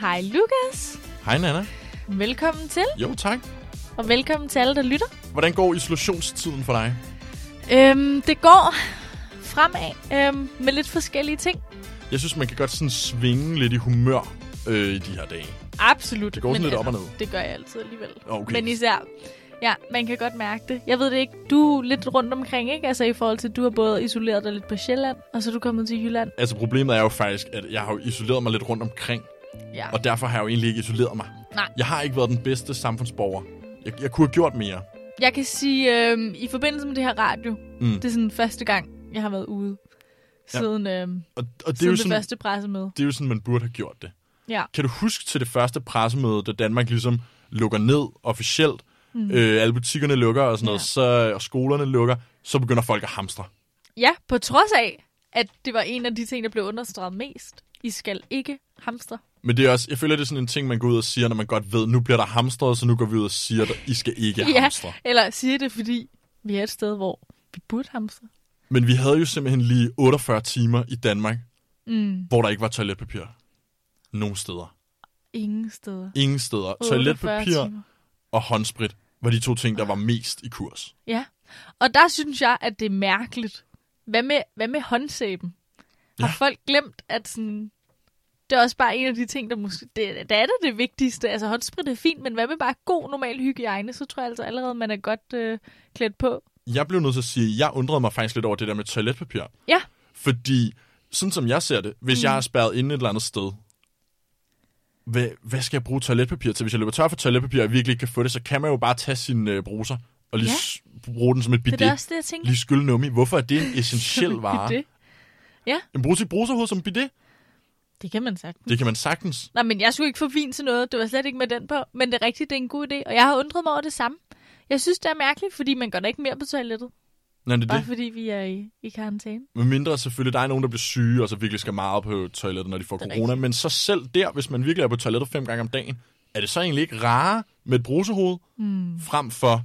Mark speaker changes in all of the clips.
Speaker 1: Hej Lukas.
Speaker 2: Hej Nana.
Speaker 1: Velkommen til,
Speaker 2: Jo tak.
Speaker 1: og velkommen til alle, der lytter.
Speaker 2: Hvordan går isolationstiden for dig?
Speaker 1: Øhm, det går fremad øhm, med lidt forskellige ting.
Speaker 2: Jeg synes, man kan godt sådan svinge lidt i humør øh, i de her dage.
Speaker 1: Absolut.
Speaker 2: Det går sådan
Speaker 1: men altså,
Speaker 2: lidt op og ned.
Speaker 1: Det gør jeg altid alligevel.
Speaker 2: Okay.
Speaker 1: Men især, ja, man kan godt mærke det. Jeg ved det ikke, du er lidt rundt omkring, ikke? Altså i forhold til, at du har både isoleret dig lidt på Sjælland, og så er du kommet til Jylland.
Speaker 2: Altså problemet er jo faktisk, at jeg har jo isoleret mig lidt rundt omkring,
Speaker 1: Ja.
Speaker 2: og derfor har jeg jo egentlig ikke isoleret mig.
Speaker 1: Nej.
Speaker 2: Jeg har ikke været den bedste samfundsborger. Jeg, jeg kunne have gjort mere.
Speaker 1: Jeg kan sige, øhm, i forbindelse med det her radio,
Speaker 2: Mm.
Speaker 1: det er sådan første gang, jeg har været ude.
Speaker 2: Ja.
Speaker 1: Siden, øhm,
Speaker 2: Og, og det, er
Speaker 1: siden
Speaker 2: jo
Speaker 1: det,
Speaker 2: sådan,
Speaker 1: første pressemøde.
Speaker 2: det er jo sådan, man burde have gjort det.
Speaker 1: Ja.
Speaker 2: Kan du huske til det første pressemøde, da Danmark ligesom lukker ned officielt, mm. øh, alle butikkerne lukker og sådan noget,
Speaker 1: Ja.
Speaker 2: så, og skolerne lukker, så begynder folk at hamstre.
Speaker 1: Ja, på trods af, at det var en af de ting, der blev understreget mest. I skal ikke hamstre.
Speaker 2: Men det er også, jeg føler, det er sådan en ting, man går ud og siger, når man godt ved, nu bliver der hamstret, så nu går vi ud og siger, at I skal ikke
Speaker 1: Ja.
Speaker 2: hamstre.
Speaker 1: Eller siger det, fordi vi er et sted, hvor vi burde hamstre.
Speaker 2: Men vi havde jo simpelthen lige 48 timer i Danmark,
Speaker 1: Mm.
Speaker 2: hvor der ikke var toiletpapir. Nogle steder.
Speaker 1: Ingen steder.
Speaker 2: Ingen steder.
Speaker 1: 48
Speaker 2: Toiletpapir
Speaker 1: timer.
Speaker 2: og håndsprit var de to ting, der var mest i kurs.
Speaker 1: Ja. Og der synes jeg, at det er mærkeligt. Hvad med, hvad med håndsæben? Har
Speaker 2: Ja.
Speaker 1: folk glemt, at sådan... Det er også bare en af de ting, der måske... Det, det er da det vigtigste. Altså, håndsprit er fint, men hvad med bare god, normal hygiejne? Så tror jeg altså allerede, man er godt øh, klædt på.
Speaker 2: Jeg blev nødt til at sige, at jeg undrede mig faktisk lidt over det der med toiletpapir.
Speaker 1: Ja.
Speaker 2: Fordi, sådan som jeg ser det, hvis mm. jeg er spærret inde et eller andet sted, hvad, hvad skal jeg bruge toiletpapir til? Hvis jeg løber tør for toiletpapir, og jeg virkelig ikke kan få det, så kan man jo bare tage sin øh, bruser og lige
Speaker 1: Ja.
Speaker 2: ja. bruge den som et
Speaker 1: Det er da
Speaker 2: bidet.
Speaker 1: også det, jeg tænker.
Speaker 2: Lige skylle nummi. Hvorfor er det en essentiel vare?
Speaker 1: det.
Speaker 2: En bruge sit bruserhoved som bidet?
Speaker 1: det kan man sagtens.
Speaker 2: Det kan man sagtens.
Speaker 1: Nej, men jeg skulle ikke få vin til noget. Det var slet ikke med den på. Men det er rigtigt, det er en god idé. Og jeg har undret mig over det samme. Jeg synes, det er mærkeligt, fordi man går da ikke mere på toilettet.
Speaker 2: Nej, det er
Speaker 1: Bare
Speaker 2: det.
Speaker 1: fordi vi er i, i karantæne.
Speaker 2: Med mindre selvfølgelig, der er nogen, der bliver syge, og så virkelig skal meget på toilettet, når de får
Speaker 1: Det er
Speaker 2: corona. Rigtigt. Men så selv der, hvis man virkelig er på toilettet fem gange om dagen, er det så egentlig ikke rare med et brusehoved,
Speaker 1: Hmm.
Speaker 2: mm. frem for,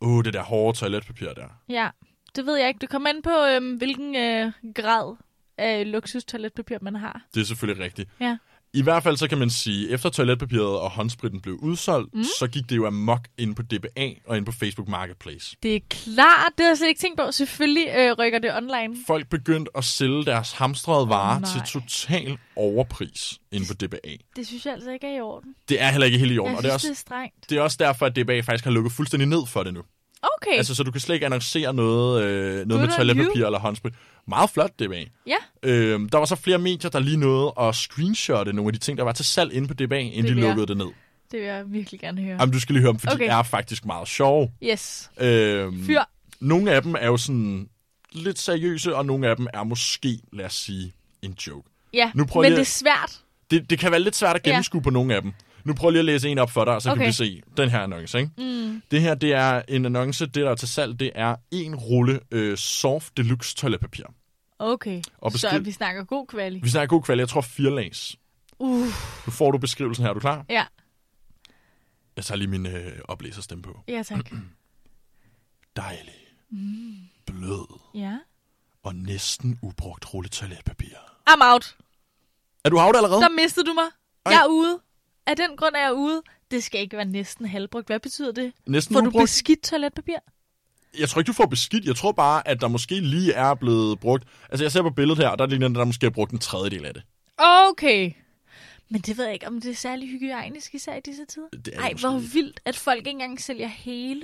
Speaker 2: åh, det der hårde toiletpapir der.
Speaker 1: Ja, det ved jeg ikke. Det kommer an på, øhm, hvilken øh, grad af luksus toiletpapir man har.
Speaker 2: Det er selvfølgelig rigtigt.
Speaker 1: Ja.
Speaker 2: I hvert fald så kan man sige, efter toiletpapiret og håndspritten blev udsolgt,
Speaker 1: Hmm.
Speaker 2: mm. så gik det jo amok inde på DBA og inde på Facebook Marketplace.
Speaker 1: Det er klart, det har jeg slet ikke tænkt på. Selvfølgelig øh, rykker det online.
Speaker 2: Folk begyndte at sælge deres hamstrede varer
Speaker 1: nej.
Speaker 2: oh, til total overpris inde på DBA.
Speaker 1: Det synes jeg altså ikke er i orden.
Speaker 2: Det er heller ikke helt i orden,
Speaker 1: Jeg
Speaker 2: og det er,
Speaker 1: synes, det
Speaker 2: også,
Speaker 1: er strengt.
Speaker 2: det er også derfor, at DBA faktisk har lukket fuldstændig ned for det nu. Okay.
Speaker 1: Okay, altså,
Speaker 2: Altså, så du kan slet ikke annoncere noget, øh, noget med
Speaker 1: on
Speaker 2: toiletpapir eller håndsprit. Meget flot, DBA.
Speaker 1: ja.
Speaker 2: Øhm, der var så flere medier, der lige nåede at screenshotte nogle af de ting, der var til salg inde på DBA, inden
Speaker 1: Det
Speaker 2: det de
Speaker 1: vil jeg.
Speaker 2: lukkede det ned.
Speaker 1: Det vil jeg virkelig gerne høre.
Speaker 2: Jamen, du skal lige høre dem, for okay.
Speaker 1: Okay.
Speaker 2: de er faktisk meget sjove.
Speaker 1: Yes.
Speaker 2: Øhm,
Speaker 1: Fyr.
Speaker 2: Nogle af dem er jo sådan lidt seriøse, og nogle af dem er måske, lad os sige, en joke.
Speaker 1: Ja,
Speaker 2: Nu prøver
Speaker 1: men
Speaker 2: jeg-
Speaker 1: det er svært.
Speaker 2: Det, det kan være lidt svært at
Speaker 1: Ja.
Speaker 2: gennemskue ja. på nogle af dem. Nu prøver jeg lige at læse en op for dig, så okay.
Speaker 1: Okay.
Speaker 2: kan vi se den her annonce. Ikke? Mm. Det her det er en annonce, det der er til salg, det er en rulle øh, soft deluxe toiletpapir.
Speaker 1: Okay,
Speaker 2: Og
Speaker 1: så
Speaker 2: beskriv-
Speaker 1: vi snakker god kvalitet.
Speaker 2: Vi snakker god kvalitet, jeg tror fire lags.
Speaker 1: Uh,
Speaker 2: Nu får du beskrivelsen her, er du klar?
Speaker 1: ja.
Speaker 2: Jeg tager lige min øh, oplæserstemme på.
Speaker 1: Ja, tak.
Speaker 2: Dejlig, mm. blød
Speaker 1: ja.
Speaker 2: og næsten ubrugt rulle toiletpapir.
Speaker 1: I'm out.
Speaker 2: Er du out allerede?
Speaker 1: Der mistede du mig.
Speaker 2: Oh. Ej.
Speaker 1: Jeg er ude. Af den grund er jeg ude. Det skal ikke være næsten halvbrugt. Hvad betyder det?
Speaker 2: Næsten
Speaker 1: Får du
Speaker 2: ubrugt?
Speaker 1: beskidt toiletpapir?
Speaker 2: Jeg tror ikke, du får beskidt. Jeg tror bare, at der måske lige er blevet brugt... Altså, jeg ser på billedet her, og der ligner det, der måske har brugt en tredjedel af det.
Speaker 1: Okay. Men det ved jeg ikke, om det er særlig hygiejnisk, især i disse tider.
Speaker 2: Det er det
Speaker 1: Ej,
Speaker 2: måske
Speaker 1: hvor
Speaker 2: ikke.
Speaker 1: vildt, at folk ikke engang sælger hele,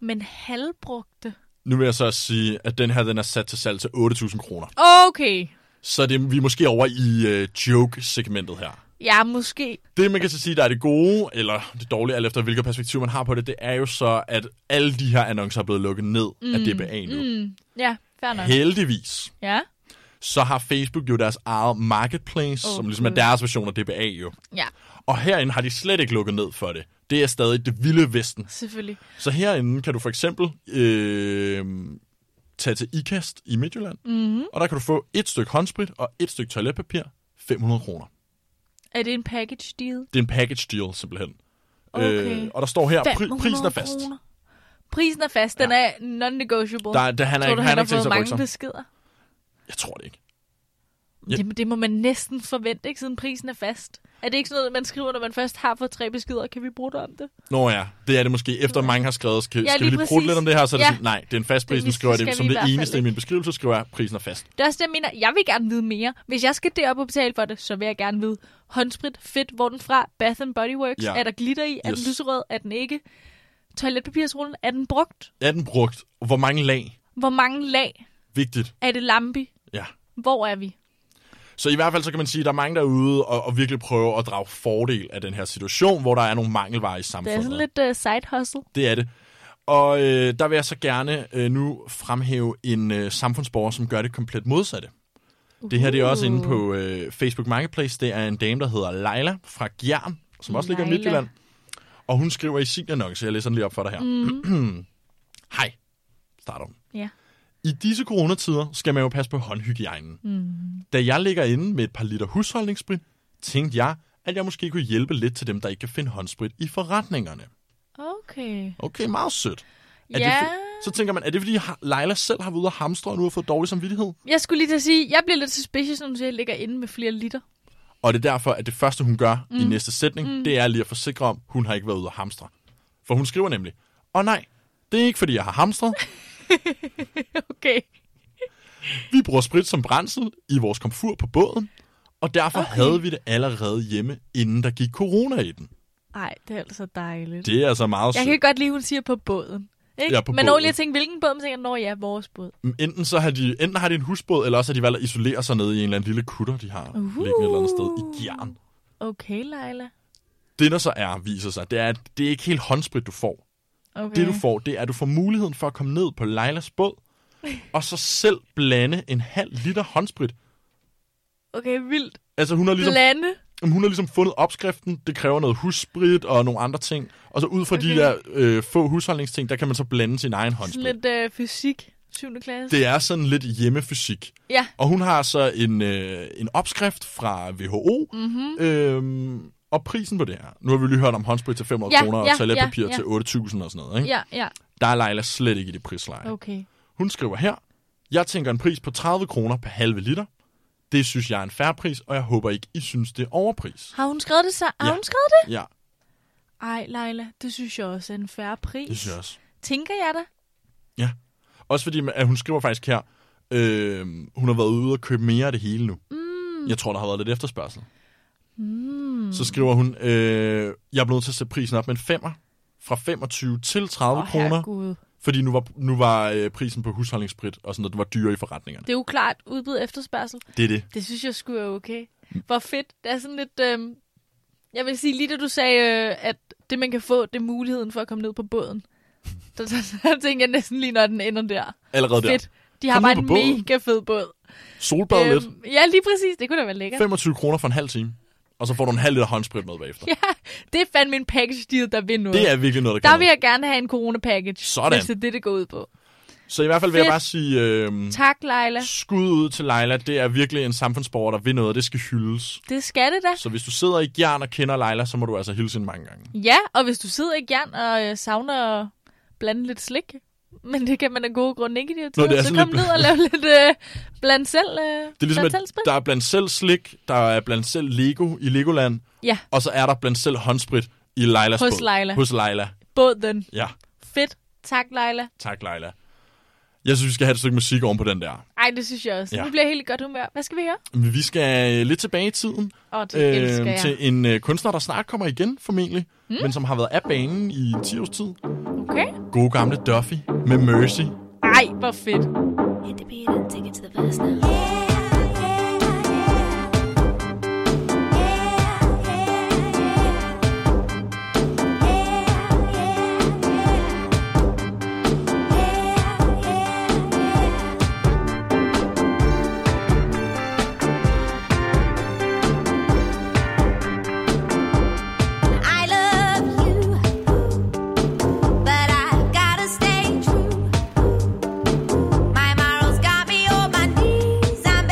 Speaker 1: men halvbrugte.
Speaker 2: Nu vil jeg så sige, at den her den er sat til salg til 8.000 kroner.
Speaker 1: Okay.
Speaker 2: Så det, er vi er måske over i øh, joke-segmentet her.
Speaker 1: Ja, måske.
Speaker 2: Det, man kan så sige, der er det gode, eller det dårlige, alt efter hvilket perspektiv man har på det, det er jo så, at alle de her annoncer er blevet lukket ned mm, af DBA nu. Mm.
Speaker 1: Ja, fair nok.
Speaker 2: Heldigvis,
Speaker 1: Ja.
Speaker 2: så har Facebook jo deres eget marketplace,
Speaker 1: Åh,
Speaker 2: oh, som ligesom er
Speaker 1: Gud.
Speaker 2: deres version af DBA jo.
Speaker 1: Ja,
Speaker 2: Og herinde har de slet ikke lukket ned for det. Det er stadig det vilde vesten.
Speaker 1: selvfølgelig.
Speaker 2: Så herinde kan du for eksempel øh, tage til IKAST i Midtjylland, mm-hmm. og der kan du få et stykke håndsprit og et stykke toiletpapir, 500 kroner.
Speaker 1: Er det en package deal?
Speaker 2: Det er en package deal, simpelthen. Øh,
Speaker 1: Okay.
Speaker 2: og der står her, pri-
Speaker 1: 500
Speaker 2: prisen er fast.
Speaker 1: kroner. Prisen er fast. Den er non-negotiable.
Speaker 2: Der, der, han er
Speaker 1: Tror
Speaker 2: ikke,
Speaker 1: du, han
Speaker 2: han er
Speaker 1: har
Speaker 2: ikke tænkt
Speaker 1: fået
Speaker 2: sig at
Speaker 1: mange
Speaker 2: rykke sig.
Speaker 1: beskeder?
Speaker 2: Jeg tror det ikke. Ja.
Speaker 1: Det, det må man næsten forvente, ikke siden prisen er fast. Er det ikke sådan noget, man skriver, når man først har fået tre beskeder? Kan vi bruge det om det?
Speaker 2: Nå ja, det er det måske. Efter mange har skrevet, skal,
Speaker 1: Ja,
Speaker 2: ja, skal vi
Speaker 1: lige
Speaker 2: lige bruge
Speaker 1: præcis.
Speaker 2: lidt om det her? Så er det
Speaker 1: Ja.
Speaker 2: sådan, nej, det er en fast pris,
Speaker 1: Det
Speaker 2: nu skriver jeg
Speaker 1: skal
Speaker 2: det.
Speaker 1: vi
Speaker 2: Som
Speaker 1: i
Speaker 2: det
Speaker 1: hvert fald
Speaker 2: eneste i min beskrivelse skriver jeg, prisen er fast.
Speaker 1: Det er også det, jeg mener. Jeg vil gerne vide mere. Hvis jeg skal derop og betale for det, så vil jeg gerne vide håndsprit, fedt, hvor er den fra, Bath and Body Works,
Speaker 2: Ja.
Speaker 1: er der glitter i, er den
Speaker 2: Yes.
Speaker 1: lyserød, er den ikke, toiletpapirsrullen, er den brugt,
Speaker 2: Er den brugt? Hvor mange lag?
Speaker 1: hvor mange lag,
Speaker 2: Vigtigt.
Speaker 1: er det lampi,
Speaker 2: Ja.
Speaker 1: hvor er vi?
Speaker 2: Så i hvert fald så kan man sige, at der er mange derude og, og virkelig prøver at drage fordel af den her situation, hvor der er nogle mangelvarer i
Speaker 1: Det
Speaker 2: samfundet.
Speaker 1: er sådan lidt uh, side hustle.
Speaker 2: Det er det. Og øh, der vil jeg så gerne øh, nu fremhæve en øh, samfundsborger, som gør det komplet modsatte. Det her det er også inde på øh, Facebook Marketplace. Det er en dame, der hedder Leila fra Gjern, som også ligger i
Speaker 1: Leila.
Speaker 2: Midtjylland. Og hun skriver i sin annonce, jeg læser den lige op for dig her. Mm. Hej, starter hun.
Speaker 1: Ja.
Speaker 2: I disse coronatider skal man jo passe på håndhygiejnen. Mm. Da jeg ligger inde med et par liter husholdningssprit, tænkte jeg, at jeg måske kunne hjælpe lidt til dem, der ikke kan finde håndsprit i forretningerne.
Speaker 1: Okay.
Speaker 2: Okay, meget sødt. Er
Speaker 1: Ja.
Speaker 2: det for, så tænker man, er det fordi ha- Leila selv har været ude og hamstre, og nu har fået dårlig samvittighed?
Speaker 1: Jeg skulle lige til at sige, jeg bliver lidt suspicious, når du siger, at jeg ligger inde med flere liter.
Speaker 2: Og det er derfor, at det første, hun gør mm. i næste sætning, mm. det er lige at forsikre om, hun har ikke været ude og hamstre. For hun skriver nemlig, åh nej, det er ikke fordi, jeg har hamstret.
Speaker 1: Okay.
Speaker 2: Vi bruger sprit som brændsel i vores komfur på båden, og derfor okay. havde vi det allerede hjemme, inden der gik corona i den.
Speaker 1: Nej, det er altså dejligt.
Speaker 2: Det er altså meget
Speaker 1: Jeg
Speaker 2: sødt.
Speaker 1: kan godt lide, at hun siger på båden. Ikke?
Speaker 2: Ja, på
Speaker 1: Men når
Speaker 2: båden.
Speaker 1: jeg tænker, hvilken båd, man tænker, når ja, vores båd.
Speaker 2: Enten, så har de, enten har de en husbåd, eller også har de valgt at isolere sig nede i en eller anden lille kutter, de har uh. liggende et eller andet sted i gjern.
Speaker 1: Okay, Leila.
Speaker 2: Det, der så er, viser sig, det er, at det er ikke helt håndsprit, du får.
Speaker 1: Okay.
Speaker 2: Det du får, det er, at du får muligheden for at komme ned på Leilas båd, og så selv blande en halv liter håndsprit.
Speaker 1: Okay, vildt.
Speaker 2: Altså hun har, ligesom,
Speaker 1: Blande.
Speaker 2: jamen, hun har ligesom fundet opskriften, det kræver noget hussprit og nogle andre ting. Og så ud fra okay.
Speaker 1: Okay.
Speaker 2: de der øh, få husholdningsting, der kan man så blande sin egen
Speaker 1: Sådan
Speaker 2: håndsprit.
Speaker 1: lidt øh, fysik. 7. klasse.
Speaker 2: Det er sådan lidt hjemmefysik.
Speaker 1: Ja.
Speaker 2: Og hun har så en, øh, en opskrift fra WHO, mm-hmm.
Speaker 1: Mhm.
Speaker 2: øhm, og prisen på det her. Nu har vi lige hørt om håndsprit til 500
Speaker 1: Ja,
Speaker 2: kroner,
Speaker 1: ja,
Speaker 2: og toiletpapir
Speaker 1: ja, ja.
Speaker 2: til 8.000 og sådan noget. Ikke?
Speaker 1: Ja, ja.
Speaker 2: Der er Leila slet ikke i det prisleje.
Speaker 1: Okay.
Speaker 2: Hun skriver her, jeg tænker en pris på 30 kroner per halve liter. Det synes jeg er en færre pris, og jeg håber ikke, I synes, det er overpris.
Speaker 1: Har hun skrevet det så? Har
Speaker 2: Ja.
Speaker 1: hun skrevet det?
Speaker 2: Ja,
Speaker 1: Ej, Leila, det synes jeg også er en færre pris.
Speaker 2: det synes jeg også.
Speaker 1: Tænker jeg da?
Speaker 2: Ja. Også fordi, at hun skriver faktisk her, øh, hun har været ude og købe mere af det hele nu. Mm. Jeg tror, der har været lidt efterspørgsel.
Speaker 1: Hmm.
Speaker 2: Mm. Så skriver hun, øh, jeg er blevet nødt til at sætte prisen op med en femmer, fra 25 til 30
Speaker 1: Åh,
Speaker 2: oh, kroner,
Speaker 1: herregud.
Speaker 2: fordi nu var, nu var øh, prisen på husholdningssprit og sådan noget, det var dyre i forretningerne.
Speaker 1: Det er jo klart udbud og efterspørgsel.
Speaker 2: Det er det.
Speaker 1: Det synes jeg skulle er okay.
Speaker 2: Mm.
Speaker 1: Hvor fedt. Det er sådan lidt... Øh, jeg vil sige, lige da du sagde, øh, at det man kan få, det er muligheden for at komme ned på båden. Så, så, så tænker jeg næsten lige, når den ender der.
Speaker 2: Allerede der.
Speaker 1: Fedt. De har
Speaker 2: Kom
Speaker 1: bare
Speaker 2: ned
Speaker 1: en
Speaker 2: på båden.
Speaker 1: mega fed båd.
Speaker 2: Solbad øhm, lidt.
Speaker 1: ja, lige præcis. Det kunne da være lækkert.
Speaker 2: 25 kroner for en halv time. Og så får du en halv liter håndsprit med bagefter. Ja.
Speaker 1: Det er fandme en package deal, der vil noget.
Speaker 2: Det er virkelig noget, der
Speaker 1: Mm. der
Speaker 2: kan
Speaker 1: vil
Speaker 2: noget.
Speaker 1: jeg gerne have en corona-package.
Speaker 2: Sådan.
Speaker 1: Hvis det er det, det går ud på.
Speaker 2: Så i hvert fald vil jeg
Speaker 1: Fedt.
Speaker 2: bare sige, øh,
Speaker 1: Tak, Leila.
Speaker 2: skud ud til Leila. Det er virkelig en samfundsborger, der vil noget, og det skal hyldes.
Speaker 1: Det skal det da.
Speaker 2: Så hvis du sidder i gjern og kender Leila, så må du altså hilse hende mange gange.
Speaker 1: Ja, og hvis du sidder i jern og øh, savner at blande lidt slik, men det kan man af gode grunde ikke i de her
Speaker 2: det er
Speaker 1: tider, så
Speaker 2: sådan
Speaker 1: kom
Speaker 2: lidt-
Speaker 1: ned og lav lidt øh, bland selv. Øh,
Speaker 2: Det er ligesom,
Speaker 1: bland
Speaker 2: at
Speaker 1: selv sprit.
Speaker 2: der er blandt selv slik, der er blandt selv Lego i Legoland,
Speaker 1: Ja,
Speaker 2: og så er der blandt selv håndsprit i Leilas
Speaker 1: Hos
Speaker 2: båd.
Speaker 1: Leila.
Speaker 2: Hos Leila.
Speaker 1: båd den.
Speaker 2: Ja,
Speaker 1: Fedt. Tak, Leila.
Speaker 2: tak Leila. Jeg synes, vi skal have et stykke musik oven på den der.
Speaker 1: Ej, det synes jeg også.
Speaker 2: Ja.
Speaker 1: Ja. Nu bliver jeg helt i godt humør. Hvad skal vi høre?
Speaker 2: Men Vi skal øh, lidt tilbage i tiden.
Speaker 1: Åh, det øh, elsker jeg.
Speaker 2: Øhm, til en øh, kunstner, der snart kommer igen, formentlig, mm. men som har været af banen i 10 års tid.
Speaker 1: Okay.
Speaker 2: Gode gamle Duffy med Mercy.
Speaker 1: Ej, hvor fedt.
Speaker 3: Hit the beat and take it to the past now.
Speaker 4: I love you, but I've gotta stay true. My morals got me on my knees. I'm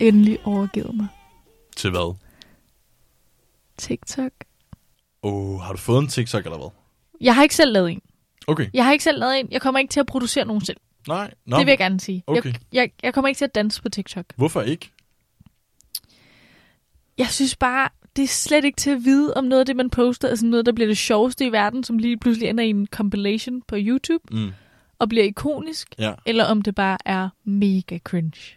Speaker 1: endelig overgivet mig.
Speaker 2: Til hvad?
Speaker 1: TikTok.
Speaker 2: Oh, har du fået en TikTok eller hvad?
Speaker 1: Jeg har ikke selv lavet en.
Speaker 2: Okay.
Speaker 1: Jeg har ikke selv lavet en. Jeg kommer ikke til at producere nogen selv.
Speaker 2: Nej. Nå,
Speaker 1: Nå, det vil jeg gerne sige.
Speaker 2: Okay.
Speaker 1: Jeg, jeg, jeg kommer ikke til at danse på TikTok.
Speaker 2: Hvorfor ikke?
Speaker 1: Jeg synes bare, det er slet ikke til at vide, om noget af det, man poster, er sådan noget, der bliver det sjoveste i verden, som lige pludselig ender i en compilation på YouTube
Speaker 2: Mm.
Speaker 1: og bliver ikonisk,
Speaker 2: Ja.
Speaker 1: eller om det bare er mega cringe.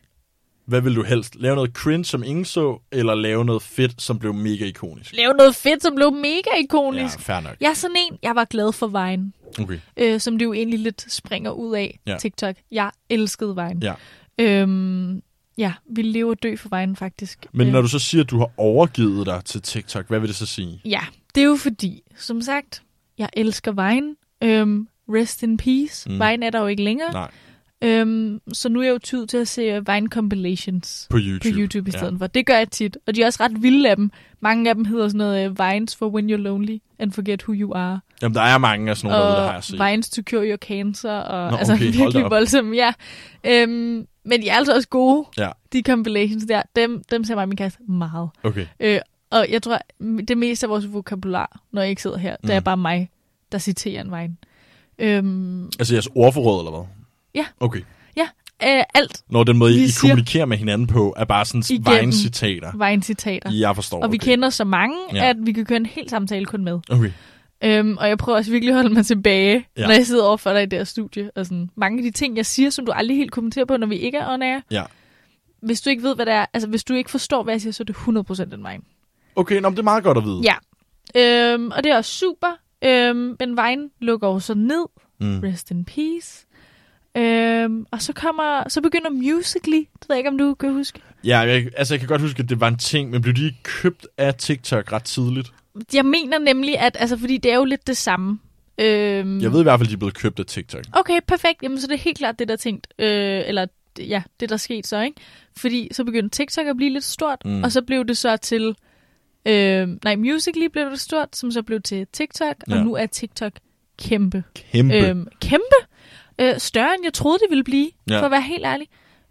Speaker 2: Hvad vil du helst? Lave noget cringe, som ingen så, eller lave noget fedt, som blev mega ikonisk?
Speaker 1: Lave noget fedt, som blev mega ikonisk.
Speaker 2: Ja, fair nok.
Speaker 1: Jeg er sådan en, jeg var glad for Vine,
Speaker 2: Okay.
Speaker 1: øh, som det jo egentlig lidt springer ud af
Speaker 2: Ja.
Speaker 1: TikTok. Jeg elskede Vine.
Speaker 2: Ja.
Speaker 1: Øhm, ja, vi lever og dø for Vine faktisk.
Speaker 2: Men
Speaker 1: Øh,
Speaker 2: når du så siger, at du har overgivet dig til TikTok, hvad vil det så sige?
Speaker 1: Ja, det er jo fordi, som sagt, jeg elsker Vine. Øhm, rest in peace.
Speaker 2: Mm.
Speaker 1: Mm. Vine er der jo ikke længere.
Speaker 2: Nej,
Speaker 1: Øhm, så nu er jeg jo tid til at se øh, Vine compilations
Speaker 2: på YouTube.
Speaker 1: på YouTube i stedet ja. for. Det gør jeg tit, og de er også ret vilde af dem. Mange af dem hedder sådan noget øh, Vines for When You're Lonely and Forget Who You Are.
Speaker 2: Ja. Jamen, der er mange af sådan nogle, derude, der har jeg set.
Speaker 1: og Vines to Cure Your Cancer, og
Speaker 2: Nå,
Speaker 1: Nå, altså
Speaker 2: okay, hold da
Speaker 1: virkelig
Speaker 2: op.
Speaker 1: voldsomme, ja. Øhm, men de er altså også gode,
Speaker 2: Ja.
Speaker 1: de compilations der. Dem, dem ser mig og min kæreste meget.
Speaker 2: Okay,
Speaker 1: Øh, og jeg tror, m- det meste af vores vokabular, når jeg ikke sidder her, mm. det er
Speaker 2: Mm.
Speaker 1: bare mig, der citerer en vine. Øhm,
Speaker 2: altså jeres ordforråd eller hvad?
Speaker 1: Ja.
Speaker 2: Okay.
Speaker 1: øh, alt
Speaker 2: Når den måde, I,
Speaker 1: Vi
Speaker 2: I
Speaker 1: siger-
Speaker 2: kommunikerer med hinanden på, er bare sådan
Speaker 1: Igennem.
Speaker 2: vejen citater.
Speaker 1: vine-citater.
Speaker 2: Jeg forstår.
Speaker 1: Og vi
Speaker 2: okay.
Speaker 1: kender så mange,
Speaker 2: Ja.
Speaker 1: ja. at vi kan køre en hel samtale kun med.
Speaker 2: Okay.
Speaker 1: Øhm, og jeg prøver også virkelig at holde mig tilbage,
Speaker 2: Ja.
Speaker 1: ja. når jeg sidder overfor dig i det her studie. Og sådan, mange af de ting, jeg siger, som du aldrig helt kommenterer på, når vi ikke er on air.
Speaker 2: Ja.
Speaker 1: Hvis du ikke ved, hvad det er, altså hvis du ikke forstår, hvad jeg siger, så er det 100% en vine.
Speaker 2: Okay, nå, men det er meget godt at vide.
Speaker 1: Ja. Øhm, og det er også super. Øhm, men vejen lukker jo så ned
Speaker 2: Mm.
Speaker 1: Rest in peace. Øhm, og så kommer, så begynder Musical.ly. Det ved jeg ikke, om du kan huske.
Speaker 2: Ja, jeg, altså jeg kan godt huske, at det var en ting, men blev de ikke købt af TikTok ret tidligt?
Speaker 1: Jeg mener nemlig, at, altså, fordi det er jo lidt det samme. Øhm,
Speaker 2: Jeg ved i hvert fald, at de er blevet købt af TikTok.
Speaker 1: Okay, perfekt. Jamen, så det er helt klart det, der er tænkt. Øh, eller det- ja, det der er sket så, ikke? Fordi så begyndte TikTok at blive lidt stort,
Speaker 2: Mm.
Speaker 1: mm. og så blev det så til... Øh, nej, Musical.ly blev det stort, som så blev til TikTok, ja.
Speaker 2: Ja.
Speaker 1: og nu er TikTok kæmpe.
Speaker 2: Kæmpe. Øhm,
Speaker 1: Øhm, kæmpe. Øh, større, end jeg troede, det ville blive,
Speaker 2: Ja.
Speaker 1: ja. for at være helt ærlig.